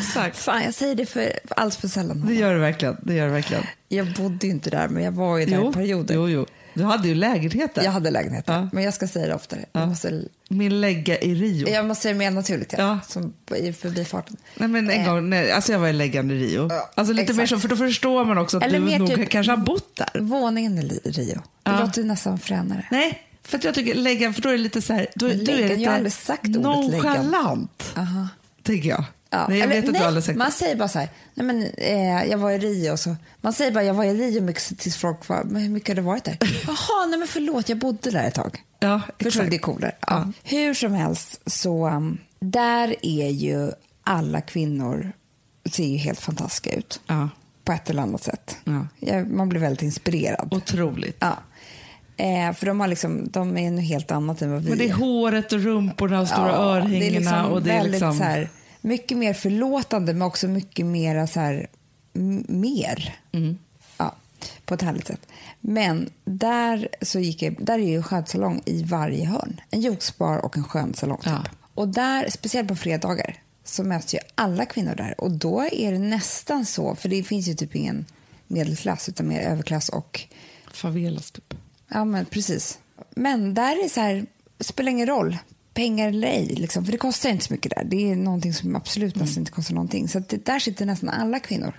Speaker 1: Exakt.
Speaker 2: Fan, jag säger det för, för allt för sällan.
Speaker 1: Det gör det verkligen. Det gör det verkligen.
Speaker 2: Jag bodde ju inte där, men jag var ju där i perioder.
Speaker 1: jo, jo. Du hade ju lägenheten.
Speaker 2: Jag hade lägenheter,
Speaker 1: Ja.
Speaker 2: men jag ska säga det oftare. Jag, måste,
Speaker 1: Min lägga i Rio.
Speaker 2: jag måste säga det mer naturligt, ja.
Speaker 1: Ja.
Speaker 2: som i förbifarten.
Speaker 1: Nej, men en
Speaker 2: Eh,
Speaker 1: gång, nej, alltså jag var i läggan i Rio.
Speaker 2: Ja,
Speaker 1: alltså lite
Speaker 2: exakt.
Speaker 1: mer så, för då förstår man också att
Speaker 2: Eller mer
Speaker 1: du nog
Speaker 2: typ-
Speaker 1: kanske har bott där.
Speaker 2: Våningen i Li- Rio. Det
Speaker 1: Ja.
Speaker 2: låter ju nästan fränare.
Speaker 1: Nej, för att jag tycker läggan, för då är det lite så här, då,
Speaker 2: Men
Speaker 1: du
Speaker 2: läggan,
Speaker 1: är
Speaker 2: jag
Speaker 1: lite
Speaker 2: har aldrig sagt ordet läggan.
Speaker 1: nonchalant,
Speaker 2: Aha.
Speaker 1: tänker jag.
Speaker 2: Ja,
Speaker 1: Nej, jag
Speaker 2: eller-
Speaker 1: vet att du aldrig sagt
Speaker 2: Man säger bara så här, nej men eh, jag var i Rio och så. Man säger bara jag var i Rio mycket tills folk var, men hur mycket har du varit där? Jaha, nej men förlåt, jag bodde där ett tag.
Speaker 1: Ja,
Speaker 2: Förstår du,
Speaker 1: exakt.
Speaker 2: det är coolare. Ja. Hur som helst så, um, där är ju alla kvinnor, ser ju helt fantastiska ut.
Speaker 1: Ja.
Speaker 2: På ett eller annat sätt.
Speaker 1: Ja.
Speaker 2: Jag, man blir väldigt inspirerad.
Speaker 1: Otroligt.
Speaker 2: Ja. Eh, för de, har liksom, de är nu helt annat än vad vi
Speaker 1: Men det är håret och rumporna och stora örhängena.
Speaker 2: det är liksom
Speaker 1: och det är
Speaker 2: väldigt
Speaker 1: liksom,
Speaker 2: så här, mycket mer förlåtande men också mycket mera så här, m- mer.
Speaker 1: Mm.
Speaker 2: Ja, på ett härligt sätt. Men där, så gick jag, där är ju skönsalong i varje hörn. En jokesbar och en skönsalong. Typ.
Speaker 1: Ja.
Speaker 2: Och där, speciellt på fredagar, så möts ju alla kvinnor där. Och då är det nästan så, för det finns ju typ ingen medelklass utan mer överklass och
Speaker 1: favelas typ.
Speaker 2: Ja, men precis. Men där är så här, spelar ingen roll, pengar eller ej, liksom, för det kostar inte så mycket där. Det är någonting som absolut nästan inte kostar någonting. Så att det, där sitter nästan alla kvinnor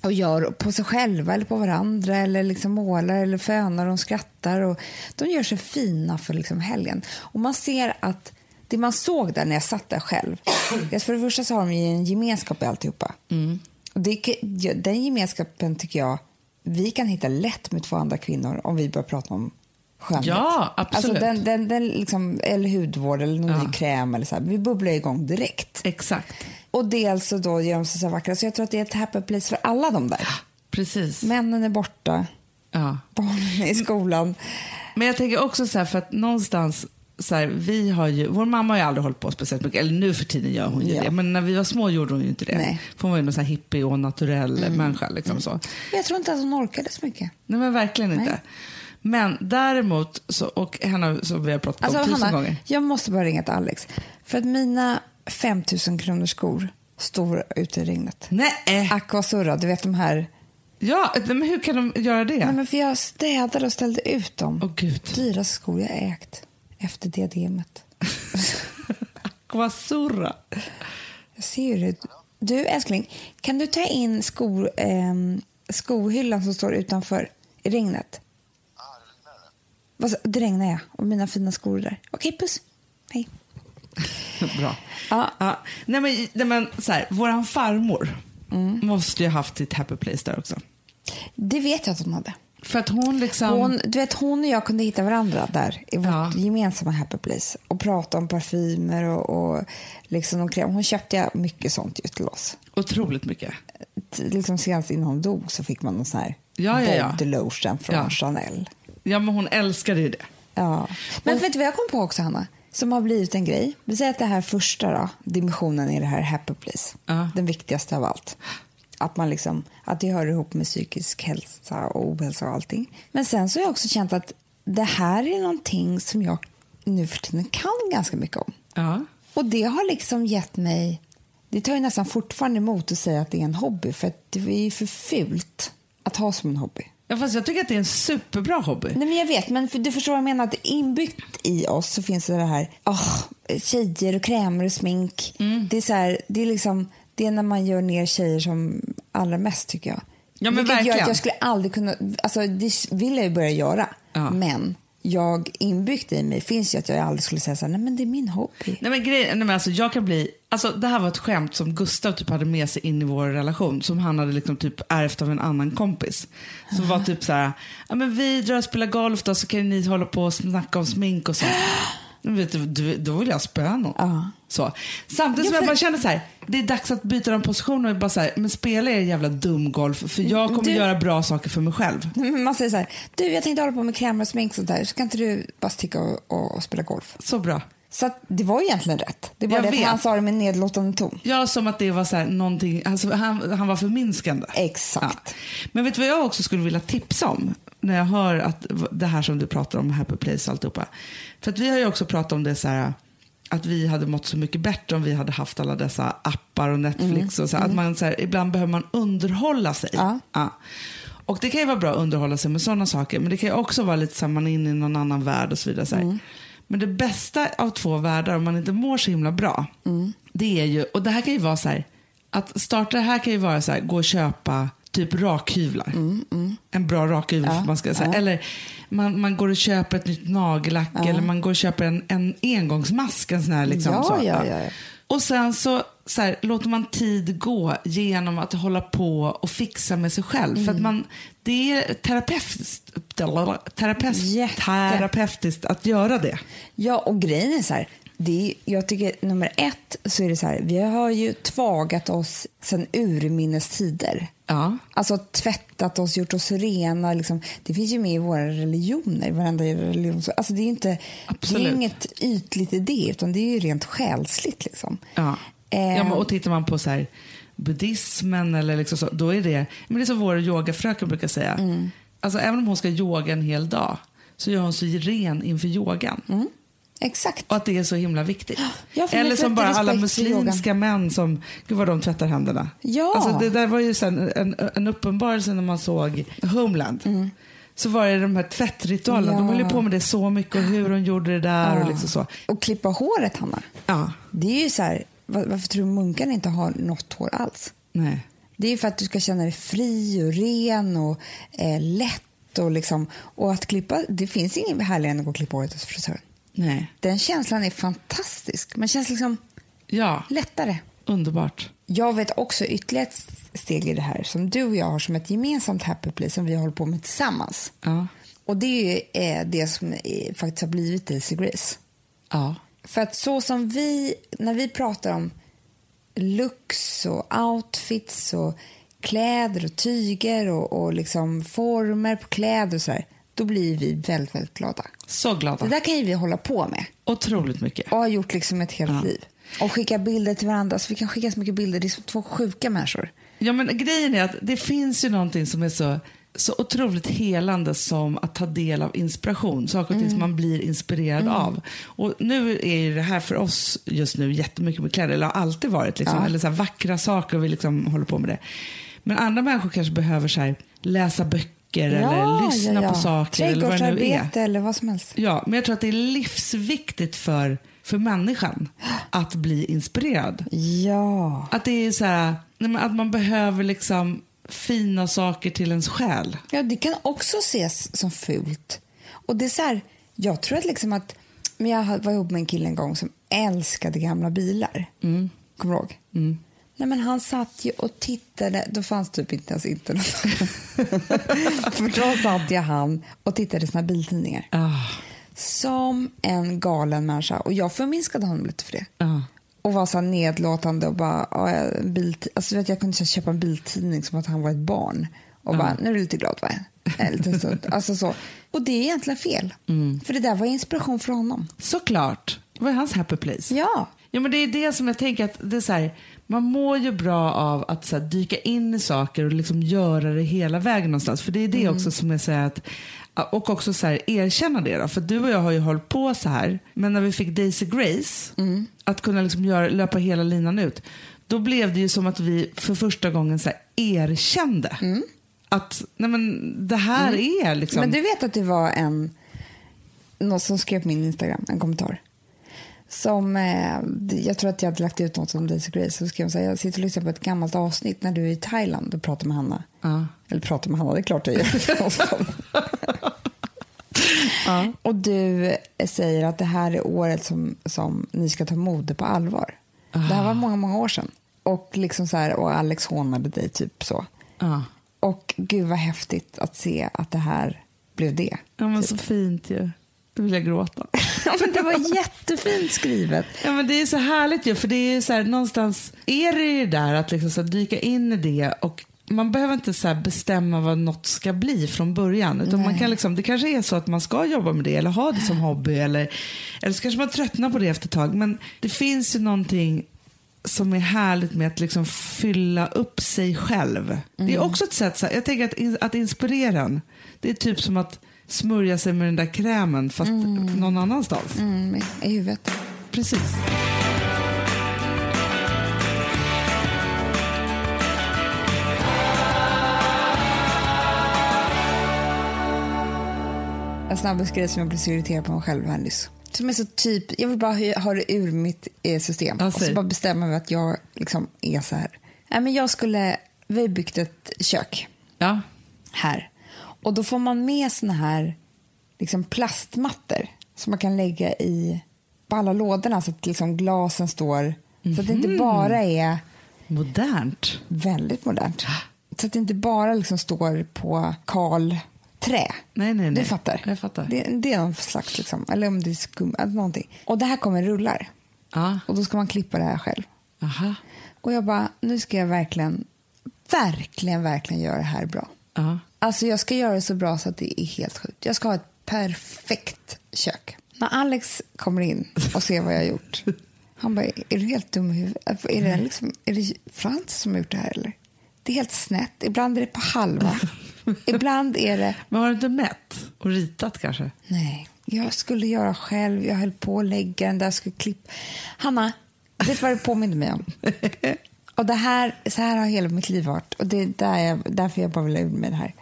Speaker 2: och gör på sig själva eller på varandra eller liksom målar eller fönar och skrattar. Och de gör sig fina för liksom helgen. Och man ser att det man såg där när jag satt där själv, det är för det första så har de ju en gemenskap i alltihopa. Och det, kan- ja, den gemenskapen tycker jag vi kan hitta lätt med två andra kvinnor om vi börjar prata om skönhet.
Speaker 1: Ja, absolut.
Speaker 2: Alltså den, den, den liksom, eller hudvård eller någon
Speaker 1: Ja.
Speaker 2: ny kräm. Eller så här. Vi bubblar igång direkt.
Speaker 1: Exakt.
Speaker 2: Och dels så då gör de sig så här vackra. Så jag tror att det är ett happy place för alla de där.
Speaker 1: Precis.
Speaker 2: Männen är borta,
Speaker 1: ja.
Speaker 2: barnen
Speaker 1: Mm.
Speaker 2: är i skolan.
Speaker 1: Men jag tänker också så här, för att någonstans, så här, vi har ju, vår mamma har ju aldrig hållit på speciellt mycket, eller nu för tiden gör hon ju
Speaker 2: Ja.
Speaker 1: det, men när vi var små gjorde hon ju inte det.
Speaker 2: Nej. Mm.
Speaker 1: För hon var ju någon så här hippie och naturell människa. Liksom så.
Speaker 2: Men jag tror inte att hon orkade så mycket.
Speaker 1: Nej men verkligen inte.
Speaker 2: Nej.
Speaker 1: Men däremot, så, och Hanna som vi har pratat om
Speaker 2: Alltså
Speaker 1: tusen
Speaker 2: Hanna,
Speaker 1: gånger.
Speaker 2: jag måste bara ringa till Alex. För att mina 5000 kronors skor står ute i regnet.
Speaker 1: Nej,
Speaker 2: Aqua Surra, du vet de här
Speaker 1: ja, nej, men hur kan de göra det?
Speaker 2: Nej, men för jag städade och ställde ut dem.
Speaker 1: Åh, gud.
Speaker 2: Dyraste skor jag ägt efter diademet.
Speaker 1: Aquasurra.
Speaker 2: Jag ser ju det. Du älskling, kan du ta in skor, ehm, skohyllan som står utanför i regnet? Vad sa- Det regnar ja, och mina fina skor är där. Okej, puss. Hej.
Speaker 1: Bra.
Speaker 2: Ja.
Speaker 1: Ja. Nej, men, nej, men så här, våran farmor måste ju ha haft sitt happy place där också.
Speaker 2: Det vet jag att hon hade.
Speaker 1: För att hon liksom...
Speaker 2: Hon, du vet, hon och jag kunde hitta varandra där i vårt
Speaker 1: Ja.
Speaker 2: gemensamma happy place och prata om parfymer och, och liksom om kräm. Hon köpte jag mycket sånt ju till oss.
Speaker 1: Otroligt mycket.
Speaker 2: t- liksom senast innan hon dog så fick man någon sån här
Speaker 1: Ja, ja, ja.
Speaker 2: body lotion från
Speaker 1: Ja.
Speaker 2: Chanel.
Speaker 1: Ja, men hon älskade ju det.
Speaker 2: Ja. Men vet du vad jag kom på också Hanna? Som har blivit en grej. Vi säger att det här första då, dimensionen i det här happy place.
Speaker 1: Ja.
Speaker 2: Den viktigaste av allt. Att, man liksom, att det hör ihop med psykisk hälsa och ohälsa och allting. Men sen så har jag också känt att det här är någonting som jag nu för tiden kan ganska mycket om.
Speaker 1: Ja.
Speaker 2: Och det har liksom gett mig... Det tar ju nästan fortfarande emot att säga att det är en hobby för att det är ju för fult att ha som en hobby.
Speaker 1: ja, fast jag tycker att det är en superbra hobby.
Speaker 2: Nej men jag vet, men för, du förstår vad jag menar. Att inbyggt i oss så finns det det här, åh, tjejer och krämer och smink.
Speaker 1: Mm.
Speaker 2: Det är så här, det är liksom, det är när man gör ner tjejer som allra mest tycker jag.
Speaker 1: Ja, men
Speaker 2: Vilket gör
Speaker 1: verkligen.
Speaker 2: att jag skulle aldrig kunna, alltså det vill jag ju börja göra.
Speaker 1: Ja.
Speaker 2: Men jag inbyggt i mig finns ju att jag aldrig skulle säga så här, nej men det är min hobby.
Speaker 1: Nej, men grejen, nej, men alltså, jag kan bli, alltså, det här var ett skämt som Gustav typ hade med sig in i vår relation som han hade liksom typ ärvt av en annan kompis. Som var typ så här, ja, men vi drar och spelar golf då så kan ni hålla på och snacka om smink och sånt. Men Vet du, du, då vill jag spöa någon.
Speaker 2: Ja.
Speaker 1: Så. Samtidigt som jag
Speaker 2: Ja, för-
Speaker 1: bara kände så här, det är dags att byta den positionen och bara så här, men spela er jävla dumgolf för jag kommer
Speaker 2: Mm, Du-
Speaker 1: göra bra saker för mig själv.
Speaker 2: Man säger så här, du jag tänkte hålla på med krämer och smink sånt där, ska inte du bara sticka och, och, och spela golf?
Speaker 1: Så bra.
Speaker 2: Så att, det var ju egentligen rätt. Det var
Speaker 1: Jag
Speaker 2: det att
Speaker 1: vet.
Speaker 2: han sa det med nedlåtande ton.
Speaker 1: Ja, som att det var så här någonting, alltså, han, han var förminskande.
Speaker 2: Exakt.
Speaker 1: Ja. Men vet du vad jag också skulle vilja tipsa om? När jag hör att v- det här som du pratar om, Happy Place och alltihopa. För att vi har ju också pratat om det så här, att vi hade mått så mycket bättre om vi hade haft alla dessa appar och Netflix och så här, att man så här, ibland behöver man underhålla sig.
Speaker 2: Mm. Ja.
Speaker 1: Och det kan ju vara bra att underhålla sig med sådana saker, men det kan ju också vara lite så här, man är inne i någon annan värld och så vidare. Så här.
Speaker 2: Mm.
Speaker 1: Men det bästa av två världar, om man inte mår så himla bra,
Speaker 2: Mm.
Speaker 1: det är ju, och det här kan ju vara så här, att starta det här kan ju vara så här, gå och köpa typ rakhyvlar. En bra rakhyvel,
Speaker 2: Mm, Ja,
Speaker 1: för man ska säga.
Speaker 2: ja.
Speaker 1: Eller man, man går och köper ett nytt nagellack eller man går och köper en, en engångsmask. En sån här liksom,
Speaker 2: Ja,
Speaker 1: så.
Speaker 2: ja, ja, ja.
Speaker 1: Och sen så så här, låter man tid gå genom att hålla på och fixa med sig själv. För att man, det är terapeutiskt, terapeut,
Speaker 2: Jätte.
Speaker 1: terapeutiskt att göra det.
Speaker 2: Ja, och grejen är så här. Det är, jag tycker nummer ett så är det så här. Vi har ju tvagat oss sedan urminnes tider.
Speaker 1: Ja.
Speaker 2: Alltså tvättat oss, gjort oss rena. Liksom. Det finns ju med i våra religioner. i Varenda religion. Så, Alltså, det är ju inte det är
Speaker 1: Absolut.
Speaker 2: inget ytligt i det, utan det är ju rent själsligt. Liksom.
Speaker 1: Ja.
Speaker 2: Ehm,
Speaker 1: ja men, och tittar man på så här, buddhismen eller liksom så, då är det, men det är som vår yogafröken brukar säga. Alltså även om hon ska yoga en hel dag så gör hon sig ren inför yogan.
Speaker 2: Mm. Exakt.
Speaker 1: Och att det är så himla viktigt.
Speaker 2: Ja, för
Speaker 1: Eller
Speaker 2: mig
Speaker 1: som
Speaker 2: väcker
Speaker 1: bara
Speaker 2: respekt
Speaker 1: alla
Speaker 2: för
Speaker 1: muslimska män som, gud vad de tvättar händerna.
Speaker 2: Ja.
Speaker 1: Alltså det där var ju sen en, en uppenbarelse när man såg Homeland. Så var det de här tvättritualerna,
Speaker 2: Mm. Ja.
Speaker 1: de höll ju på med det så mycket och hur de gjorde det där och liksom så.
Speaker 2: Och klippa håret, Hanna.
Speaker 1: Ja,
Speaker 2: Det är ju så här, va- varför tror du munkarna inte har något hår alls?
Speaker 1: nej.
Speaker 2: Det är ju för att du ska känna dig fri och ren och eh, lätt. Och, liksom, och att klippa, det finns ingen härligare än att gå och klippa håret hos frisören.
Speaker 1: Nej.
Speaker 2: Den känslan är fantastisk. Man känns liksom
Speaker 1: Ja,
Speaker 2: lättare.
Speaker 1: underbart.
Speaker 2: Jag vet också ytterligare ett steg i det här som du och jag har som ett gemensamt happy place som vi håller på med tillsammans.
Speaker 1: Ja.
Speaker 2: Och det är ju eh, det som eh, faktiskt har blivit Daisy Grace.
Speaker 1: Ja.
Speaker 2: För att så som vi, när vi pratar om looks och outfits och kläder och tyger och, och liksom former på kläder och så här, då blir vi väldigt, väldigt glada.
Speaker 1: Så glada.
Speaker 2: Det där kan ju vi hålla på med
Speaker 1: Otroligt mycket.
Speaker 2: och har gjort liksom ett helt
Speaker 1: Ja.
Speaker 2: liv. Och skicka bilder till varandra, så vi kan skicka så mycket bilder. Det är som två sjuka människor.
Speaker 1: Ja, men grejen är att det finns ju någonting som är så, så otroligt helande som att ta del av inspiration. Saker och ting som man blir inspirerad av. Och nu är ju det här för oss just nu jättemycket med kläder, eller har alltid varit. Liksom. Eller så här vackra saker och vi liksom håller på med det. Men andra människor kanske behöver så här, läsa böcker eller lyssna på saker. Eller vad det nu är.
Speaker 2: Trädgårdsarbete eller vad som helst.
Speaker 1: Ja, men jag tror att det är livsviktigt för, för människan att bli inspirerad.
Speaker 2: Ja.
Speaker 1: Att det är så här, nej, men att man behöver liksom fina saker till ens själ.
Speaker 2: Ja, det kan också ses som fult. Och det är så här, jag tror att liksom att, men jag var ihop med en kille en gång som älskade gamla bilar. Kommer du ihåg? Nej, men han satt ju och tittade, då fanns typ inte ens internet. För då satt ju han och tittade i sina biltidningar. Som en galen människa. Och jag förminskade honom lite för det.
Speaker 1: Ja.
Speaker 2: Och var så här nedlåtande och bara, ja, jag- bilt- alltså, vet, jag kunde så här köpa en biltidning som att han var ett barn. Och bara, nu är du lite glad va? En liten stund. alltså så. Och det är egentligen fel. För det där var inspiration för honom.
Speaker 1: Såklart. Det var hans happy place.
Speaker 2: Ja.
Speaker 1: Ja, men det är det som jag tänker att det är så här, man mår ju bra av att så här, dyka in i saker och liksom göra det hela vägen någonstans. För det är det
Speaker 2: Mm.
Speaker 1: också som är så här att, och också så här, erkänna det då. För du och jag har ju hållit på så här, men när vi fick Daisy Grace,
Speaker 2: Mm.
Speaker 1: att kunna liksom göra, löpa hela linan ut, då blev det ju som att vi för första gången så här, erkände att nej men, det här är liksom...
Speaker 2: Mm. Men du vet att det var en, någon som skrev på min Instagram, en kommentar. Som, eh, jag tror att jag hade lagt ut något om Daisy Grace. Så skrev hon så här, jag sitter och lyssnar på ett gammalt avsnitt när du är i Thailand och pratar med Hanna.
Speaker 1: Ja.
Speaker 2: Eller pratar med Hanna, det är klart jag gör. Och du eh, säger att det här är året som, som ni ska ta mode på allvar. Det här var många, många år sedan. Och, liksom så här, och Alex hånade dig typ så.
Speaker 1: Ja.
Speaker 2: Och gud vad häftigt att se att det här blev det.
Speaker 1: ja, men så fint ju. Nu vill jag gråta.
Speaker 2: Ja, men det var jättefint skrivet.
Speaker 1: Ja, men det är så härligt ju, för det är ju så här, någonstans är det ju där att liksom så här, dyka in i det och man behöver inte så här bestämma vad något ska bli från början. Utan man kan liksom, det kanske är så att man ska jobba med det eller ha det som hobby. Eller, eller så kanske man tröttnar på det efter ett tag. Men det finns ju någonting som är härligt med att liksom fylla upp sig själv. Det är också ett sätt, så här, jag tänker att, in, att inspirera en, det är typ som att smörja sig med den där krämen fast någon annanstans.
Speaker 2: Mm, I huvudet.
Speaker 1: Precis.
Speaker 2: En snabbis grej som jag blev så irriterad på mig själv här nyss. Som är så typ, jag vill bara ha- ha det ur mitt eh, system.
Speaker 1: Ja,
Speaker 2: Och så
Speaker 1: säg.
Speaker 2: bara bestämma mig att jag liksom är så här. Nej, men jag skulle, vi har byggt ett kök
Speaker 1: Ja.
Speaker 2: här. Och då får man med såna här liksom plastmattor som man kan lägga i på alla lådorna så att liksom glasen står Så att det inte
Speaker 1: Mhm.
Speaker 2: bara är
Speaker 1: Modernt.
Speaker 2: väldigt modernt.
Speaker 1: Ah.
Speaker 2: Så att det inte bara liksom står på kal trä.
Speaker 1: Nej, nej, nej.
Speaker 2: Du fattar.
Speaker 1: Jag fattar.
Speaker 2: Det, det är någon slags, liksom, eller om det är skum, eller någonting. Och det här kommer rullar.
Speaker 1: Ja.
Speaker 2: Och då ska man klippa det här själv.
Speaker 1: Aha.
Speaker 2: Och jag bara, nu ska jag verkligen, verkligen, verkligen göra det här bra.
Speaker 1: Ja.
Speaker 2: Alltså jag ska göra det så bra så att det är helt sjukt. Jag ska ha ett perfekt kök. När Alex kommer in och ser vad jag har gjort. Han bara, är du helt dum i huvudet? Är det, liksom, är det Frans som har gjort det här eller? Det är helt snett. Ibland är det på halva. Ibland är det,
Speaker 1: Men har du inte mätt och ritat kanske?
Speaker 2: nej, jag skulle göra själv. Jag höll på att lägga den där, jag skulle klippa. Hanna, vet du vad det påminner mig om? Och det här, så här har hela mitt liv varit och det är där jag, därför jag bara vill ha ur mig det här.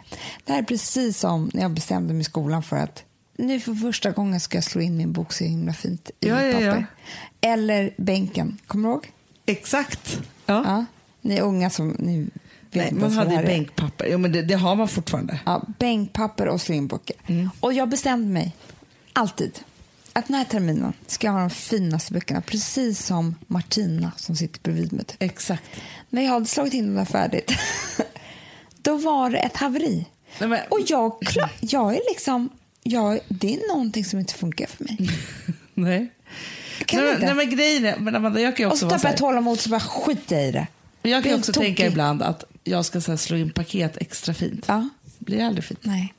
Speaker 2: Det här är precis som när jag bestämde mig i skolan för att nu för första gången ska jag slå in min bok så himla fint i
Speaker 1: Ja,
Speaker 2: mitt
Speaker 1: ja, ja.
Speaker 2: papper. Eller bänken, kommer du ihåg?
Speaker 1: Exakt. Ja.
Speaker 2: Ni är unga som ni vet
Speaker 1: Nej,
Speaker 2: inte
Speaker 1: man
Speaker 2: ens vad
Speaker 1: hade
Speaker 2: det
Speaker 1: ju
Speaker 2: här är.
Speaker 1: bänkpapper. Jo, men det, det har man fortfarande.
Speaker 2: Ja, bänkpapper och slingböcker.
Speaker 1: Mm.
Speaker 2: Och jag bestämde mig alltid att den här terminen ska jag ha de finaste böckerna, precis som Martina som sitter bredvid mig. Typ.
Speaker 1: Exakt.
Speaker 2: När jag hade slagit in den där färdigt, då var det ett haveri.
Speaker 1: Nej, men-
Speaker 2: Och jag, kla- jag är liksom, jag, det är någonting som inte funkar för mig.
Speaker 1: Nej.
Speaker 2: Kan
Speaker 1: Mm. nej,
Speaker 2: inte.
Speaker 1: nej, men grejen är, men Amanda, jag kan ju
Speaker 2: Och
Speaker 1: också
Speaker 2: så
Speaker 1: vara så
Speaker 2: tappar
Speaker 1: här,
Speaker 2: jag tålamod så bara skiter jag i det.
Speaker 1: Jag kan
Speaker 2: Blir
Speaker 1: ju också
Speaker 2: tokig.
Speaker 1: tänka ibland att jag ska så här, slå in paket extra fint.
Speaker 2: Ja.
Speaker 1: Blir aldrig fint.
Speaker 2: Nej.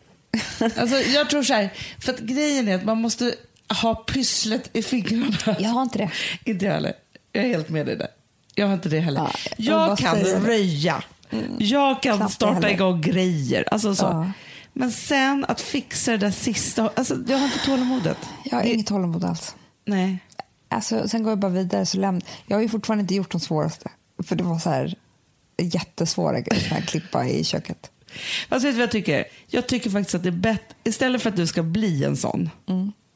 Speaker 1: Alltså, jag tror så här, för att grejen är att man måste ha pysslet i fingrarna.
Speaker 2: Jag har inte det.
Speaker 1: Inte jag heller. Jag är helt med dig där. Jag har inte det heller.
Speaker 2: Ja, jag vill bara
Speaker 1: jag kan
Speaker 2: säga det. Mm.
Speaker 1: röja. Jag kan
Speaker 2: Knappt det
Speaker 1: starta
Speaker 2: heller.
Speaker 1: igång grejer. Alltså så.
Speaker 2: Ja.
Speaker 1: Men sen att fixa det där sista. Alltså, jag har inte tålamodet.
Speaker 2: Jag har
Speaker 1: Det-
Speaker 2: inget tålamod alls.
Speaker 1: Nej.
Speaker 2: Alltså, sen går jag bara vidare. Så lämn... Jag har ju fortfarande inte gjort de svåraste. För det var så här jättesvåra grejer, sån här klippa i köket.
Speaker 1: Fast vet du vad jag tycker? Jag tycker faktiskt att det är bättre. Istället för att du ska bli en sån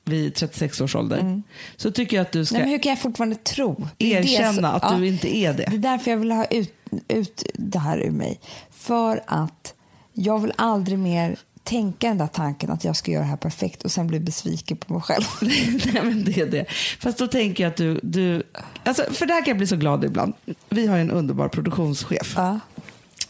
Speaker 1: vid 36 års ålder. Så tycker jag att du ska
Speaker 2: Mm. Nej, men hur kan jag fortfarande tro? Det är det
Speaker 1: erkänna
Speaker 2: som-
Speaker 1: att
Speaker 2: Ja.
Speaker 1: du inte är det.
Speaker 2: Det är därför jag vill ha ut, ut det här ur mig. För att jag vill aldrig mer tänka den där tanken att jag ska göra det här perfekt och sen bli besviken på mig själv.
Speaker 1: Nej men det är det. Fast då tänker jag att du, du alltså, för det här kan jag bli så glad ibland. Vi har ju en underbar produktionschef
Speaker 2: Ja.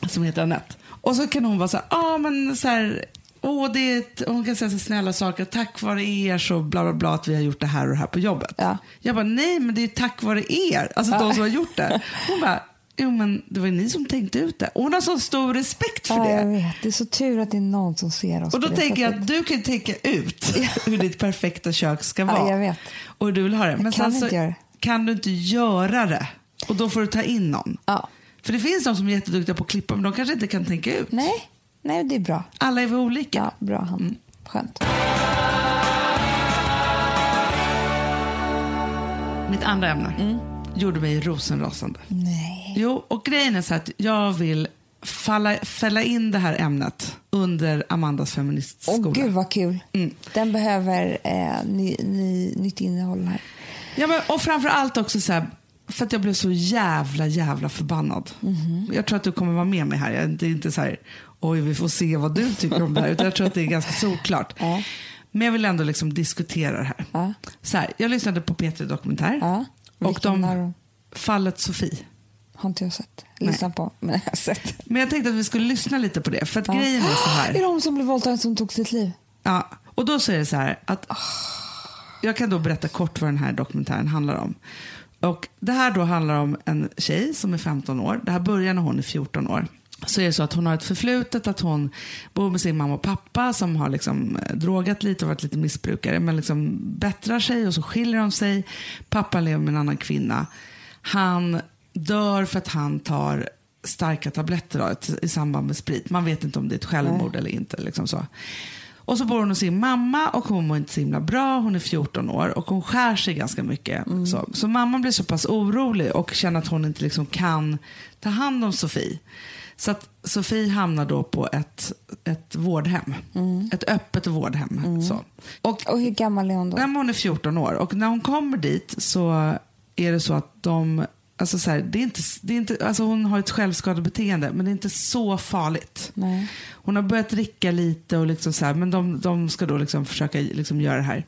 Speaker 1: som heter Anette. Och så kan hon vara så här, ah, men så här åh, det är ett, hon kan säga så snälla saker, tack vare er så bla bla bla att vi har gjort det här och det här på jobbet.
Speaker 2: Ja.
Speaker 1: Jag bara, nej men det är ju tack vare er, alltså de som har gjort det. Hon bara, jo men det var ju ni som tänkte ut det. Och hon har så stor respekt för
Speaker 2: ja,
Speaker 1: det.
Speaker 2: jag vet. Det är så tur att det är någon som ser oss
Speaker 1: Och då
Speaker 2: på det
Speaker 1: tänker jag
Speaker 2: sättet.
Speaker 1: att du kan tänka ut hur ditt perfekta kök ska
Speaker 2: Ja,
Speaker 1: vara.
Speaker 2: jag vet.
Speaker 1: Och hur du vill ha det. Men
Speaker 2: kan
Speaker 1: sen
Speaker 2: inte
Speaker 1: så
Speaker 2: göra det.
Speaker 1: kan du inte göra det. Och då får du ta in någon.
Speaker 2: Ja.
Speaker 1: För det finns de som är jätteduktiga på att klippa, men de kanske inte kan tänka ut.
Speaker 2: Nej, nej, det är bra.
Speaker 1: Alla är väl olika.
Speaker 2: Ja, bra han.
Speaker 1: Mm.
Speaker 2: Skönt.
Speaker 1: Mitt andra ämne
Speaker 2: Mm.
Speaker 1: gjorde mig rosenrasande.
Speaker 2: Nej.
Speaker 1: Jo, och grejen är så här att jag vill falla, fälla in det här ämnet under Amandas
Speaker 2: Åh
Speaker 1: feministskola. Mm.
Speaker 2: gud vad kul. Den behöver eh, ny, ny, nytt innehåll här.
Speaker 1: Ja, men, och framför allt också så här, för att jag blev så jävla, jävla förbannad.
Speaker 2: Mhm.
Speaker 1: Jag tror att du kommer vara med mig här. Jag är- Det är inte så här, oj vi får se vad du tycker om det här. Utan jag tror att det är ganska solklart.
Speaker 2: Ja.
Speaker 1: Men jag vill ändå liksom diskutera det här.
Speaker 2: Ja.
Speaker 1: Så här jag lyssnade på P3 Dokumentär.
Speaker 2: Ja.
Speaker 1: Och
Speaker 2: Vilken har
Speaker 1: de,
Speaker 2: de?
Speaker 1: fallet Sofie.
Speaker 2: Har inte jag sett. Lyssnat på, men jag har sett.
Speaker 1: Men jag tänkte att vi skulle lyssna lite på det. För att grejen är så
Speaker 2: Är det
Speaker 1: här.
Speaker 2: hon som blev våldtagen som tog sitt liv?
Speaker 1: Ja, och då säger det så här att ah, jag kan då berätta kort vad den här dokumentären handlar om. Och det här då handlar om en tjej som är 15 år. Det här börjar när hon är 14 år. Så är det så att hon har ett förflutet att hon bor med sin mamma och pappa som har liksom eh, drogat lite och varit lite missbrukare men liksom bättrar sig och så skiljer de sig. Pappan lever med en annan kvinna. Han dör för att han tar starka tabletter då, ett- i samband med sprit. Man vet inte om det är ett självmord eller inte. Liksom så. Och så bor hon hos sin mamma och hon mår inte så himla bra. Hon är 14 år och hon skär sig ganska mycket. Så, så mamman blir så pass orolig och känner att hon inte liksom kan ta hand om Sofie. Så att Sofie hamnar då på ett, ett vårdhem. Ett öppet vårdhem. Så. Och
Speaker 2: Och hur gammal är hon då?
Speaker 1: Nej, men hon är 14 år och när hon kommer dit så är det så att de, alltså så här, det är inte, det är inte, alltså hon har ett självskadebeteende men det är inte så farligt.
Speaker 2: Nej.
Speaker 1: Hon har börjat dricka lite och liksom så här, men de, de ska då liksom försöka liksom göra det här.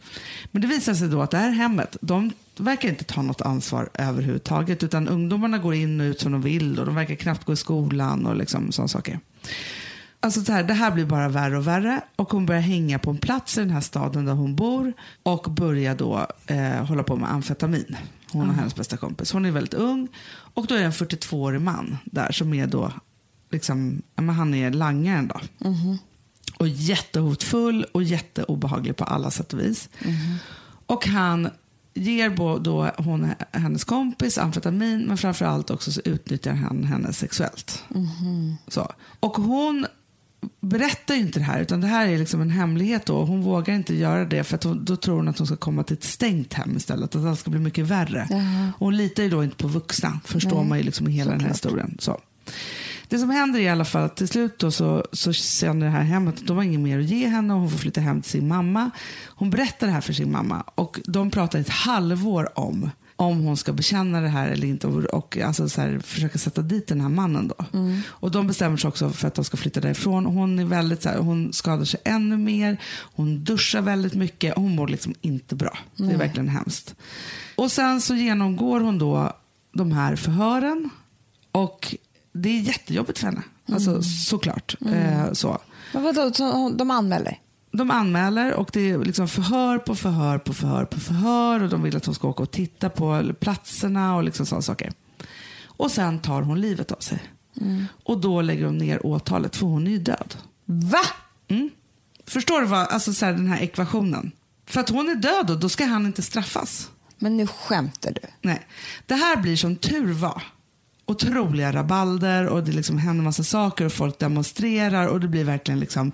Speaker 1: Men det visar sig då att det här hemmet, de verkar inte ta något ansvar överhuvudtaget. Utan ungdomarna går in och ut som de vill och de verkar knappt gå i skolan och liksom sådana saker. Alltså det här, det här blir bara värre och värre och hon börjar hänga på en plats i den här staden där hon bor och börjar då eh, hålla på med amfetamin. Hon och hennes bästa kompis. Hon är väldigt ung och då är det en 42-årig man där som är då liksom, ja, men han är langaren då. Och jättehotfull och jätteobehaglig på alla sätt och vis. Och han ger bo- då hon, hennes kompis amfetamin men framförallt också så utnyttjar han henne sexuellt. Så. Och hon berättar ju inte det här utan det här är liksom en hemlighet då. Hon vågar inte göra det för att hon, då tror hon att hon ska komma till ett stängt hem istället. Att allt ska bli mycket värre.
Speaker 2: Jaha.
Speaker 1: Och hon litar ju då inte på vuxna förstår
Speaker 2: Nej.
Speaker 1: man ju liksom i hela den här historien. Så. Det som händer är i alla fall att till slut då så, så känner det här hemmet att de har inget mer att ge henne och hon får flytta hem till sin mamma. Hon berättar det här för sin mamma och de pratar ett halvår om om hon ska bekänna det här eller inte och, och alltså så här, försöka sätta dit den här mannen då. Och de bestämmer sig också för att de ska flytta därifrån. Hon är väldigt så här, hon skadar sig ännu mer, hon duschar väldigt mycket, hon mår liksom inte bra. Det är verkligen hemskt. Och sen så genomgår hon då de här förhören och det är jättejobbigt för henne. Alltså såklart. Eh, så.
Speaker 2: Men vadå, så hon- de anmäler?
Speaker 1: De anmäler och det är liksom förhör på förhör på förhör på förhör och de vill att hon ska åka och titta på platserna och liksom sådana saker. Och sen tar hon livet av sig. Och då lägger de ner åtalet för hon är ju död.
Speaker 2: Va?
Speaker 1: Mm. Förstår du vad, alltså så här, den här ekvationen? För att hon är död och då ska han inte straffas.
Speaker 2: Men nu skämtar du.
Speaker 1: Nej. Det här blir som tur var otroliga rabalder och det liksom händer massa saker och folk demonstrerar och det blir verkligen liksom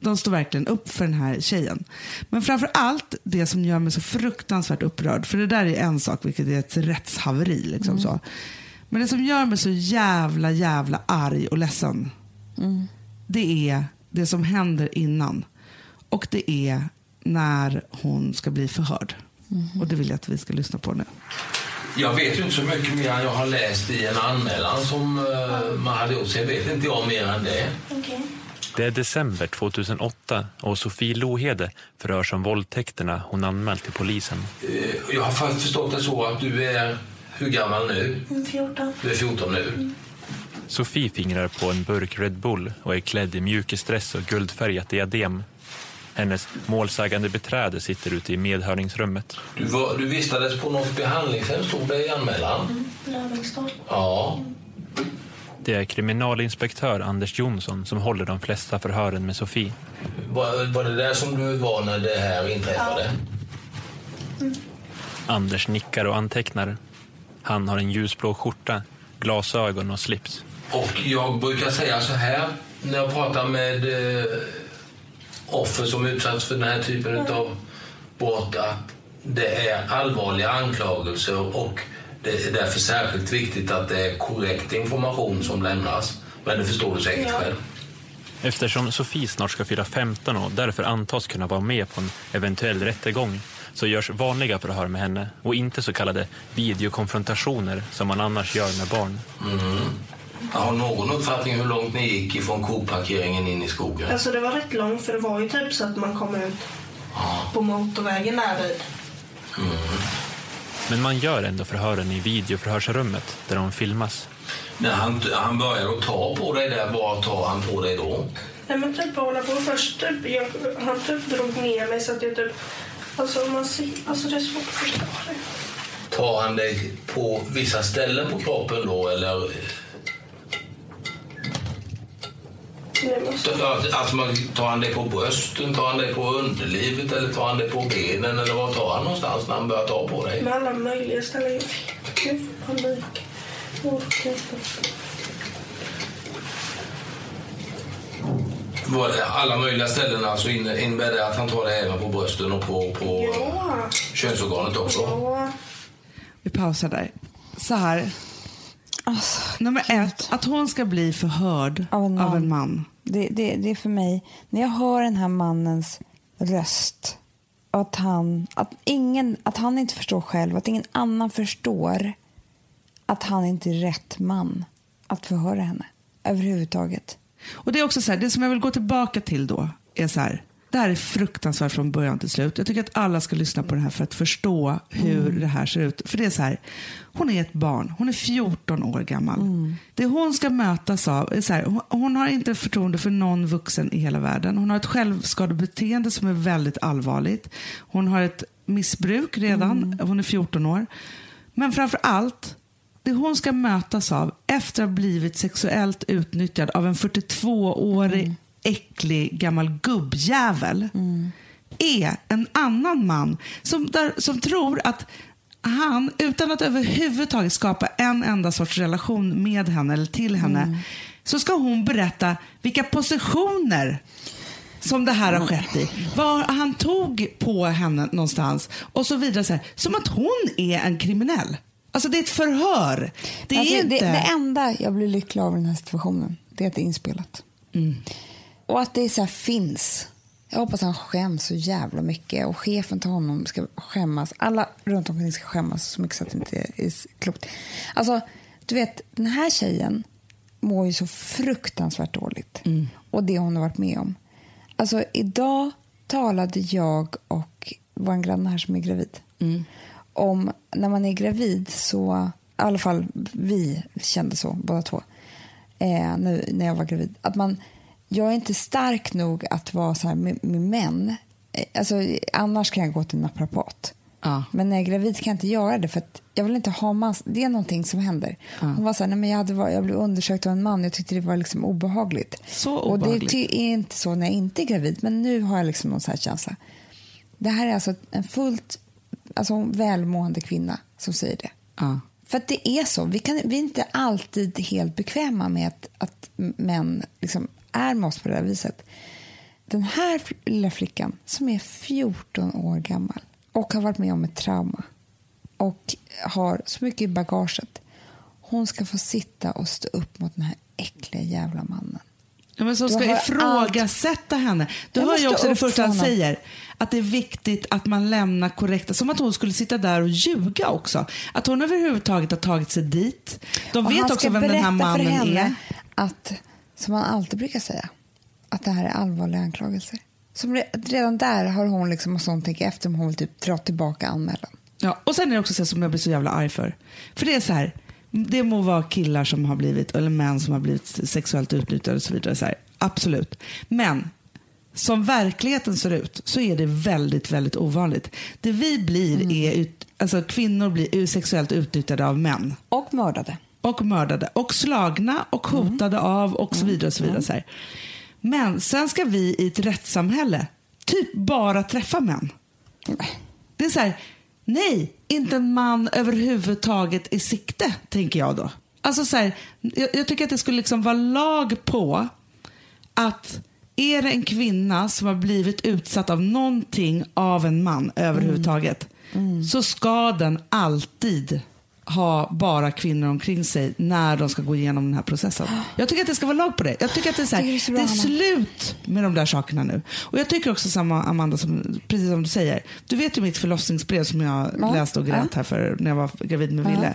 Speaker 1: de står verkligen upp för den här tjejen. Men framför allt det som gör mig så fruktansvärt upprörd, för det där är en sak vilket är ett rättshaveri. Liksom så. Men det som gör mig så jävla jävla arg och ledsen det är det som händer innan. Och det är när hon ska bli förhörd. Och det vill jag att vi ska lyssna på nu.
Speaker 3: Jag vet ju inte så mycket mer än jag har läst i en anmälan som eh, man hade gjort. Så jag vet inte jag mer än det.
Speaker 4: Det är december 2008 och Sofie Lohede förhörs om våldtäkterna hon anmält till polisen.
Speaker 3: Eh, Jag har först förstått det så att du är... Hur gammal nu?
Speaker 5: 14.
Speaker 3: Du är 14 nu.
Speaker 4: Sofie fingrar på en burk Red Bull och är klädd i mjukisdress och guldfärgat diadem. Hennes målsägande beträde sitter ute i medhörningsrummet.
Speaker 3: Du, var, du vistades på något behandlingshem, stod det i anmälan.
Speaker 5: Löfvenstad.
Speaker 3: Ja.
Speaker 4: Det är kriminalinspektör Anders Jonsson som håller de flesta förhören med Sofie.
Speaker 3: Var, var det där som du var när det här inträffade?
Speaker 4: Anders nickar och antecknar. Han har en ljusblå skjorta, glasögon och slips.
Speaker 3: Och jag brukar säga så här när jag pratar med eh, offer som utsatts för den här typen
Speaker 5: Mm.
Speaker 3: av brott att det är allvarliga anklagelser och det är därför särskilt viktigt att det är korrekt information som lämnas. Men det förstår du säkert
Speaker 5: Ja.
Speaker 3: själv.
Speaker 4: Eftersom Sofie snart ska fylla 15 och därför antas kunna vara med på en eventuell rättegång så görs vanliga förhör med henne och inte så kallade videokonfrontationer som man annars gör med barn.
Speaker 3: Jag har någon uppfattning hur långt ni gick ifrån koparkeringen in i skogen?
Speaker 5: Alltså det var rätt långt för det var ju typ så att man kom ut på motorvägen där vid.
Speaker 4: Men man gör ändå förhören i videoförhörsrummet där de filmas.
Speaker 3: När han, han började att ta på dig där, vad tar han på dig då?
Speaker 5: Nej men typ bara hålla på först typ, jag, han typ drog ner mig så att jag typ, alltså man ser, alltså det är svårt att förstå det.
Speaker 3: Tar han dig på vissa ställen på kroppen då eller
Speaker 5: Nej, men alltså,
Speaker 3: Alltså man, tar han det på brösten, tar han det på underlivet eller tar han det på benen eller vad tar han någonstans när han börjar ta på dig?
Speaker 5: med alla möjliga ställen, jag fick ju panik. Jag orkar inte.
Speaker 3: Var det Alla möjliga ställen alltså inne- innebär det att han tar det även på brösten och på, på
Speaker 5: Ja,
Speaker 3: könsorganet också?
Speaker 5: ja.
Speaker 1: Vi pausar där. Så här,
Speaker 2: Alltså,
Speaker 1: nummer ett, att hon ska bli förhörd
Speaker 2: Av
Speaker 1: av
Speaker 2: en
Speaker 1: en,
Speaker 2: man.
Speaker 1: man.
Speaker 2: Mm. det, det, det är för mig, när jag hör den här mannens röst och att han, att, ingen, att han inte förstår själv, att ingen annan förstår att han inte är rätt man att förhöra henne överhuvudtaget.
Speaker 1: Och det är också så här, det som jag vill gå tillbaka till då är så här, Det här är fruktansvärt från början till slut. Jag tycker att alla ska lyssna på det här för att förstå hur det här ser ut. För det är så här, hon är ett barn. Hon är 14 år gammal. Det hon ska mötas av är så här, hon- hon har inte förtroende för någon vuxen i hela världen. Hon har ett självskadebeteende som är väldigt allvarligt. Hon har ett missbruk redan. Hon är 14 år. Men framför allt, det hon ska mötas av efter att ha blivit sexuellt utnyttjad av en 42-årig äcklig gammal gubbjävel är en annan man som, där, som tror att han, utan att överhuvudtaget skapa en enda sorts relation med henne eller till henne, så ska hon berätta vilka positioner som det här har skett i. Var han tog på henne någonstans och så vidare. Så här. Som att hon är en kriminell. Alltså det är ett förhör. Det är
Speaker 2: Alltså,
Speaker 1: inte...
Speaker 2: det, det enda jag blir lycklig av i den här situationen, det är att det är inspelat. Och att det så här finns. Jag hoppas han skäms så jävla mycket och chefen till honom ska skämmas. Alla runt omkring ska skämmas så mycket så att det inte är s- klokt. Alltså, du vet, den här tjejen mår ju så fruktansvärt dåligt. Och det hon har varit med om. Alltså, idag talade jag och vår granne här som är gravid om när man är gravid så, i alla fall vi kände så båda två, eh, när, när jag var gravid, att man, jag är inte stark nog att vara så här med, med män. Eh, Alltså, annars kan jag gå till naprapat.
Speaker 1: Ja.
Speaker 2: Men när jag är gravid kan jag inte göra det för att jag vill inte ha man. Det är någonting som händer. Hon var så här, nej men jag, hade var, jag blev undersökt av en man jag tyckte det var liksom obehagligt.
Speaker 1: Så
Speaker 2: Och det
Speaker 1: obehagligt.
Speaker 2: ty- är inte så när jag inte är gravid men nu har jag liksom någon så här känsla. Det här är alltså en fullt alltså en välmående kvinna som säger det.
Speaker 1: Ja.
Speaker 2: För att det är så. Vi, kan, vi är inte alltid helt bekväma med att, att män liksom är med oss på det här viset. Den här fl- lilla flickan som är 14 år gammal och har varit med om ett trauma och har så mycket i bagaget. Hon ska få sitta och stå upp mot den här äckliga jävla mannen.
Speaker 1: Ja, men som
Speaker 2: Du
Speaker 1: ska
Speaker 2: har
Speaker 1: ifrågasätta henne. Du
Speaker 2: Jag
Speaker 1: hör ju
Speaker 2: måste
Speaker 1: också det
Speaker 2: upp
Speaker 1: första han
Speaker 2: för honom.
Speaker 1: säger. Att det är viktigt att man lämnar korrekta... Som att hon skulle sitta där och ljuga också. Att hon överhuvudtaget har tagit sig dit. De
Speaker 2: Och
Speaker 1: vet
Speaker 2: han
Speaker 1: också
Speaker 2: ska
Speaker 1: vem den här
Speaker 2: berätta för
Speaker 1: mannen
Speaker 2: henne
Speaker 1: är.
Speaker 2: Att, som man alltid brukar säga, att det här är allvarliga anklagelser. Som re, redan där har hon liksom och sånt tänka efter om hon vill typ dra tillbaka anmälan.
Speaker 1: Ja, och sen är det också så här som jag blir så jävla arg för. För det är så här, det må vara killar som har blivit, eller män som har blivit sexuellt utnyttjade och så vidare. Så här, absolut. Men som verkligheten ser ut så är det väldigt, väldigt ovanligt. Det vi blir är, ut, alltså kvinnor blir ju sexuellt utnyttjade av män.
Speaker 2: Och mördade.
Speaker 1: Och mördade. Och slagna och hotade av och så vidare. Och så vidare så här. Men sen ska vi i ett rättssamhälle typ bara träffa män. Det är så här, nej, inte en man överhuvudtaget i sikte, tänker jag då. Alltså så här, jag, jag tycker att det skulle liksom vara lag på att är det en kvinna som har blivit utsatt av någonting av en man överhuvudtaget
Speaker 2: Mm.
Speaker 1: så ska den alltid ha bara kvinnor omkring sig när de ska gå igenom den här processen. Jag tycker att det ska vara lag på det. Jag tycker att det är, så här,
Speaker 2: Jag tycker
Speaker 1: det
Speaker 2: det
Speaker 1: är
Speaker 2: är så bra,
Speaker 1: slut med de där sakerna nu. Och jag tycker också samma Amanda, som, precis som du säger. Du vet ju mitt förlossningsbrev som jag
Speaker 2: Ja.
Speaker 1: läste och grät
Speaker 2: Ja.
Speaker 1: här för när jag var gravid med Ville.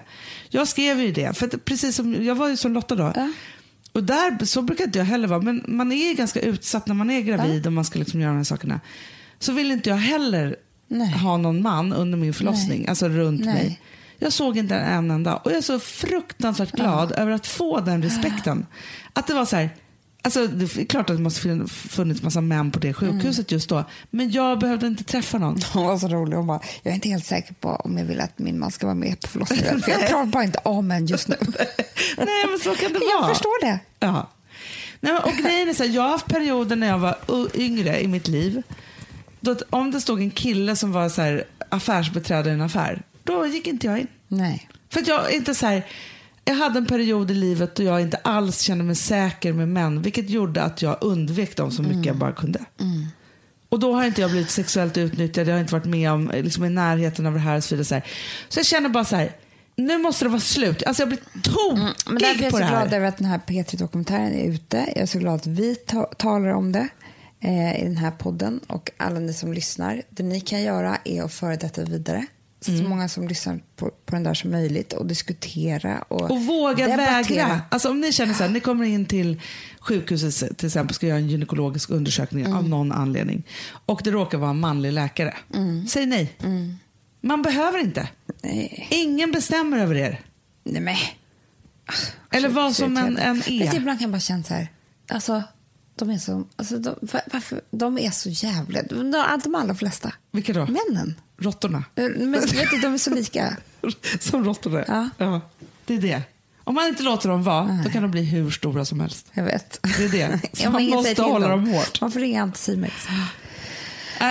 Speaker 1: Jag skrev ju det, för att precis som, jag var ju som Lotta då. Och där, så brukar inte jag heller vara, men man är ju ganska utsatt när man är gravid och man ska liksom göra de här sakerna. Så vill inte jag heller
Speaker 2: Nej.
Speaker 1: ha någon man under min förlossning,
Speaker 2: Nej.
Speaker 1: alltså runt
Speaker 2: Nej.
Speaker 1: mig. Jag såg inte en enda och jag är så fruktansvärt glad över att få den respekten. Att det var så här, alltså det är klart att det måste fin- funnits massa män på det sjukhuset
Speaker 2: Mm.
Speaker 1: just då, men jag behövde inte träffa någon.
Speaker 2: Hon var så rolig. Hon bara, jag är inte helt säker på om jag vill att min man ska vara med på förlossningen. För jag klarar bara inte av män just nu.
Speaker 1: Nej men så kan det
Speaker 2: Jag
Speaker 1: vara.
Speaker 2: förstår det.
Speaker 1: Ja. Nej, men- och grejen är så här, jag har haft perioder när jag var u- yngre i mitt liv. Då att om det stod en kille som var så här, affärsbiträde i en affär, då gick inte jag in.
Speaker 2: Nej.
Speaker 1: För att jag inte så här, jag hade en period i livet då jag inte alls kände mig säker med män, vilket gjorde att jag undvek dem så mycket
Speaker 2: Mm.
Speaker 1: jag bara kunde. Och då har inte jag blivit sexuellt utnyttjad, jag har inte varit med om, eh, liksom i närheten av det här och så vidare. Så, här. så jag känner bara så här, nu måste det vara slut. Alltså jag blir tokig
Speaker 2: Mm, Men därför är jag
Speaker 1: på
Speaker 2: så
Speaker 1: det här.
Speaker 2: glad över att den här P3-dokumentären är ute. Jag är så glad att vi ta- talar om det eh, i den här podden och alla ni som lyssnar. Det ni kan göra är att föra detta vidare
Speaker 1: Mm.
Speaker 2: så många som lyssnar på, på den där som möjligt och diskutera och,
Speaker 1: Och våga
Speaker 2: debattera.
Speaker 1: vägra. Alltså om ni känner så här, ni kommer in till sjukhuset till exempel ska göra en gynekologisk undersökning
Speaker 2: Mm.
Speaker 1: av någon anledning och det råkar vara en manlig läkare. Säg nej. Man behöver inte.
Speaker 2: Mm. Nej,
Speaker 1: Ingen bestämmer över er.
Speaker 2: nej men.
Speaker 1: Eller vad som en, en
Speaker 2: Vet du,
Speaker 1: är.
Speaker 2: ibland kan jag bara känna så här, alltså de är så, alltså, de, va- varför, de är så jävla, de, de allra flesta.
Speaker 1: Vilka då?
Speaker 2: Männen. Eh,
Speaker 1: Råttorna.
Speaker 2: Men, vet du, de är så lika.
Speaker 1: Som råttorna är.
Speaker 2: Ja.
Speaker 1: Det är det. Om man inte låter dem vara, då
Speaker 2: Nej.
Speaker 1: kan de bli hur stora som helst.
Speaker 2: Jag vet.
Speaker 1: Det är det. Så
Speaker 2: Ja, men
Speaker 1: man
Speaker 2: ingen
Speaker 1: måste
Speaker 2: säger till
Speaker 1: hålla dem hårt.
Speaker 2: Man får ringa Anticimex.
Speaker 1: Nej,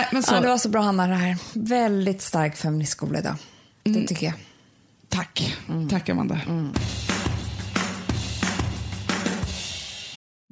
Speaker 1: Äh, men så.
Speaker 2: Ja, det var så bra Hanna det här. Väldigt stark feministskola idag.
Speaker 6: Mm.
Speaker 2: Det tycker jag.
Speaker 1: Tack.
Speaker 2: Mm.
Speaker 1: Tack Amanda.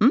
Speaker 6: Mm.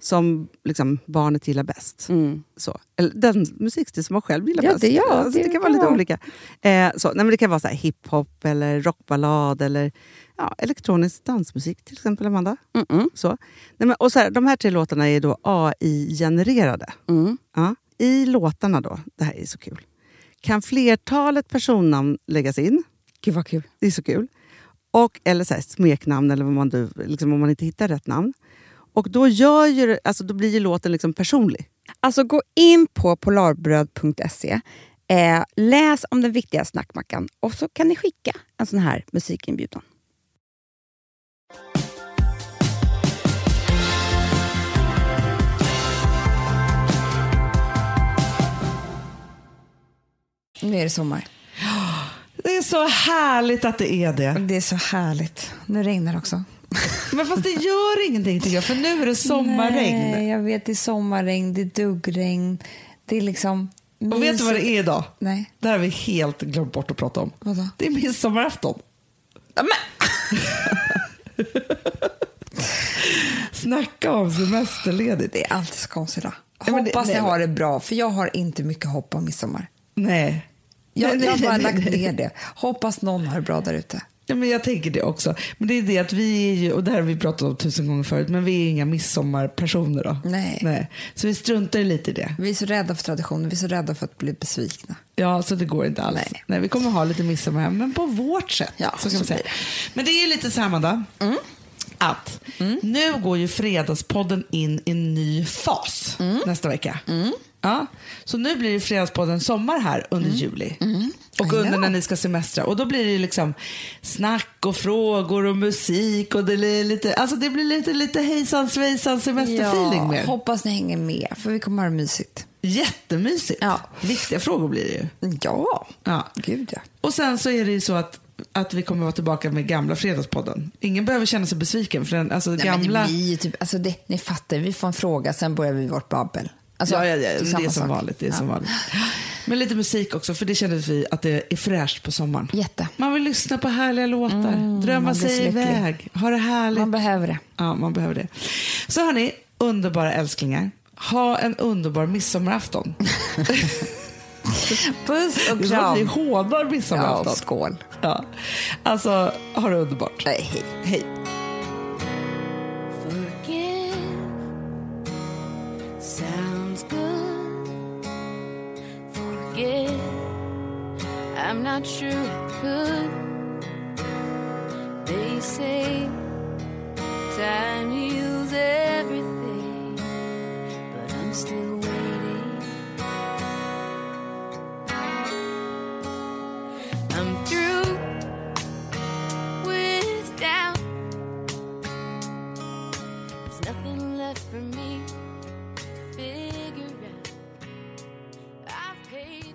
Speaker 7: som liksom, barnet gillar bäst. Så. Eller den musikstil som man själv gillar
Speaker 6: Mm. Ja,
Speaker 7: bäst.
Speaker 6: det- ja,
Speaker 7: alltså, det,
Speaker 6: det
Speaker 7: kan vara
Speaker 6: kan
Speaker 7: lite
Speaker 6: vara.
Speaker 7: olika. Eh, så. Nej, men det kan vara så här hiphop, eller rockballad eller ja, elektronisk dansmusik till exempel, Amanda.
Speaker 6: Mm.
Speaker 7: Så. Nej, men, och så här, de här tre låtarna är då AI-genererade. Ja. I låtarna då, det här är så kul, kan flertalet personnamn läggas in.
Speaker 6: Gud vad kul.
Speaker 7: Det är så kul. Och, eller så här, smeknamn, eller vad man, du- liksom, om man inte hittar rätt namn. Och då, gör ju, det- alltså, då blir ju låten liksom personlig.
Speaker 6: Alltså gå in på polarbröd.se, eh, läs om den viktiga snackmackan och så kan ni skicka en sån här musikinbjudan.
Speaker 2: Nu är det sommar.
Speaker 1: Det är så härligt att det är det.
Speaker 2: Det är så härligt. Nu regnar det också.
Speaker 1: Men fast det gör ingenting tycker jag, för nu är det sommarregn.
Speaker 2: Nej, jag vet. Det är sommarregn, det är duggregn. Det är liksom...
Speaker 1: Och vet du vad det är idag?
Speaker 2: Nej.
Speaker 1: Det här har vi helt glömt bort att prata om.
Speaker 2: Vadå?
Speaker 1: Det är midsommarafton. Snacka om semesterledigt.
Speaker 2: Det är alltid så konstigt idag.
Speaker 1: Ja, men det-
Speaker 2: Hoppas ni
Speaker 1: nej,
Speaker 2: har det bra, för jag har inte mycket hopp om midsommar.
Speaker 1: Nej.
Speaker 2: Jag,
Speaker 1: Nej, nej,
Speaker 2: jag har bara
Speaker 1: nej,
Speaker 2: lagt
Speaker 1: nej.
Speaker 2: ner det. Hoppas någon har det bra där ute.
Speaker 1: Ja, men jag tänker det också. Men det är det att vi är ju, och det här har vi pratat om tusen gånger förut, men vi är inga midsommarpersoner då.
Speaker 2: Nej.
Speaker 1: Så vi struntar ju lite i det.
Speaker 2: Vi är så rädda för traditioner, vi är så rädda för att bli besvikna.
Speaker 1: Ja, så det går inte alls.
Speaker 2: Nej.
Speaker 1: vi kommer ha lite midsommar här, men på vårt sätt.
Speaker 2: Ja,
Speaker 1: så kan
Speaker 2: så
Speaker 1: man säga.
Speaker 2: blir Mm.
Speaker 1: Men det är ju lite så här, Amanda, att nu går ju Fredagspodden in i en ny fas
Speaker 2: Mm.
Speaker 1: nästa vecka. Ja, så nu blir det Fredagspodden sommar här under
Speaker 2: Mm.
Speaker 1: juli. Och under när ni ska semestra. Och då blir det ju liksom snack och frågor och musik och det blir lite, alltså det blir lite, lite hejsan svejsan semesterfeeling nu.
Speaker 2: hoppas ni hänger med, för vi kommer ha det mysigt.
Speaker 1: Jättemysigt.
Speaker 2: Ja.
Speaker 1: Viktiga frågor blir det ju.
Speaker 2: Ja,
Speaker 1: Ja.
Speaker 2: gud ja.
Speaker 1: Och sen så är det ju så att, att vi kommer vara tillbaka med gamla Fredagspodden. Ingen behöver känna sig besviken för den alltså,
Speaker 2: Nej,
Speaker 1: gamla...
Speaker 2: Men det blir ju typ, alltså det, ni fattar, vi får en fråga, sen börjar vi vårt babbel. Alltså,
Speaker 1: ja, ja, ja,
Speaker 2: är
Speaker 1: det
Speaker 2: samma
Speaker 1: är som
Speaker 2: sak.
Speaker 1: vanligt. Det är
Speaker 2: Ja.
Speaker 1: som vanligt. Men lite musik också, för det känner vi att det är fräscht på sommaren.
Speaker 2: Jätte.
Speaker 1: Man vill lyssna på härliga låtar, drömma
Speaker 2: Mm, man blir
Speaker 1: sig
Speaker 2: så lycklig.
Speaker 1: iväg, ha det härligt.
Speaker 2: Man behöver det.
Speaker 1: ja, man behöver det. Så hörni, underbara älsklingar. Ha en underbar midsommarafton.
Speaker 2: Puss och
Speaker 1: Det är som att vi
Speaker 2: kram.
Speaker 1: hånar
Speaker 2: Ja,
Speaker 1: midsommarafton.
Speaker 2: och skål.
Speaker 1: Ja. Alltså, ha det underbart.
Speaker 2: Nej, hej.
Speaker 1: Hej.
Speaker 8: Forgive sounds good. Forgive, I'm not sure I could. They say time heals everything, but I'm still waiting. I'm through with doubt. There's nothing left for me to figure out. I've paid.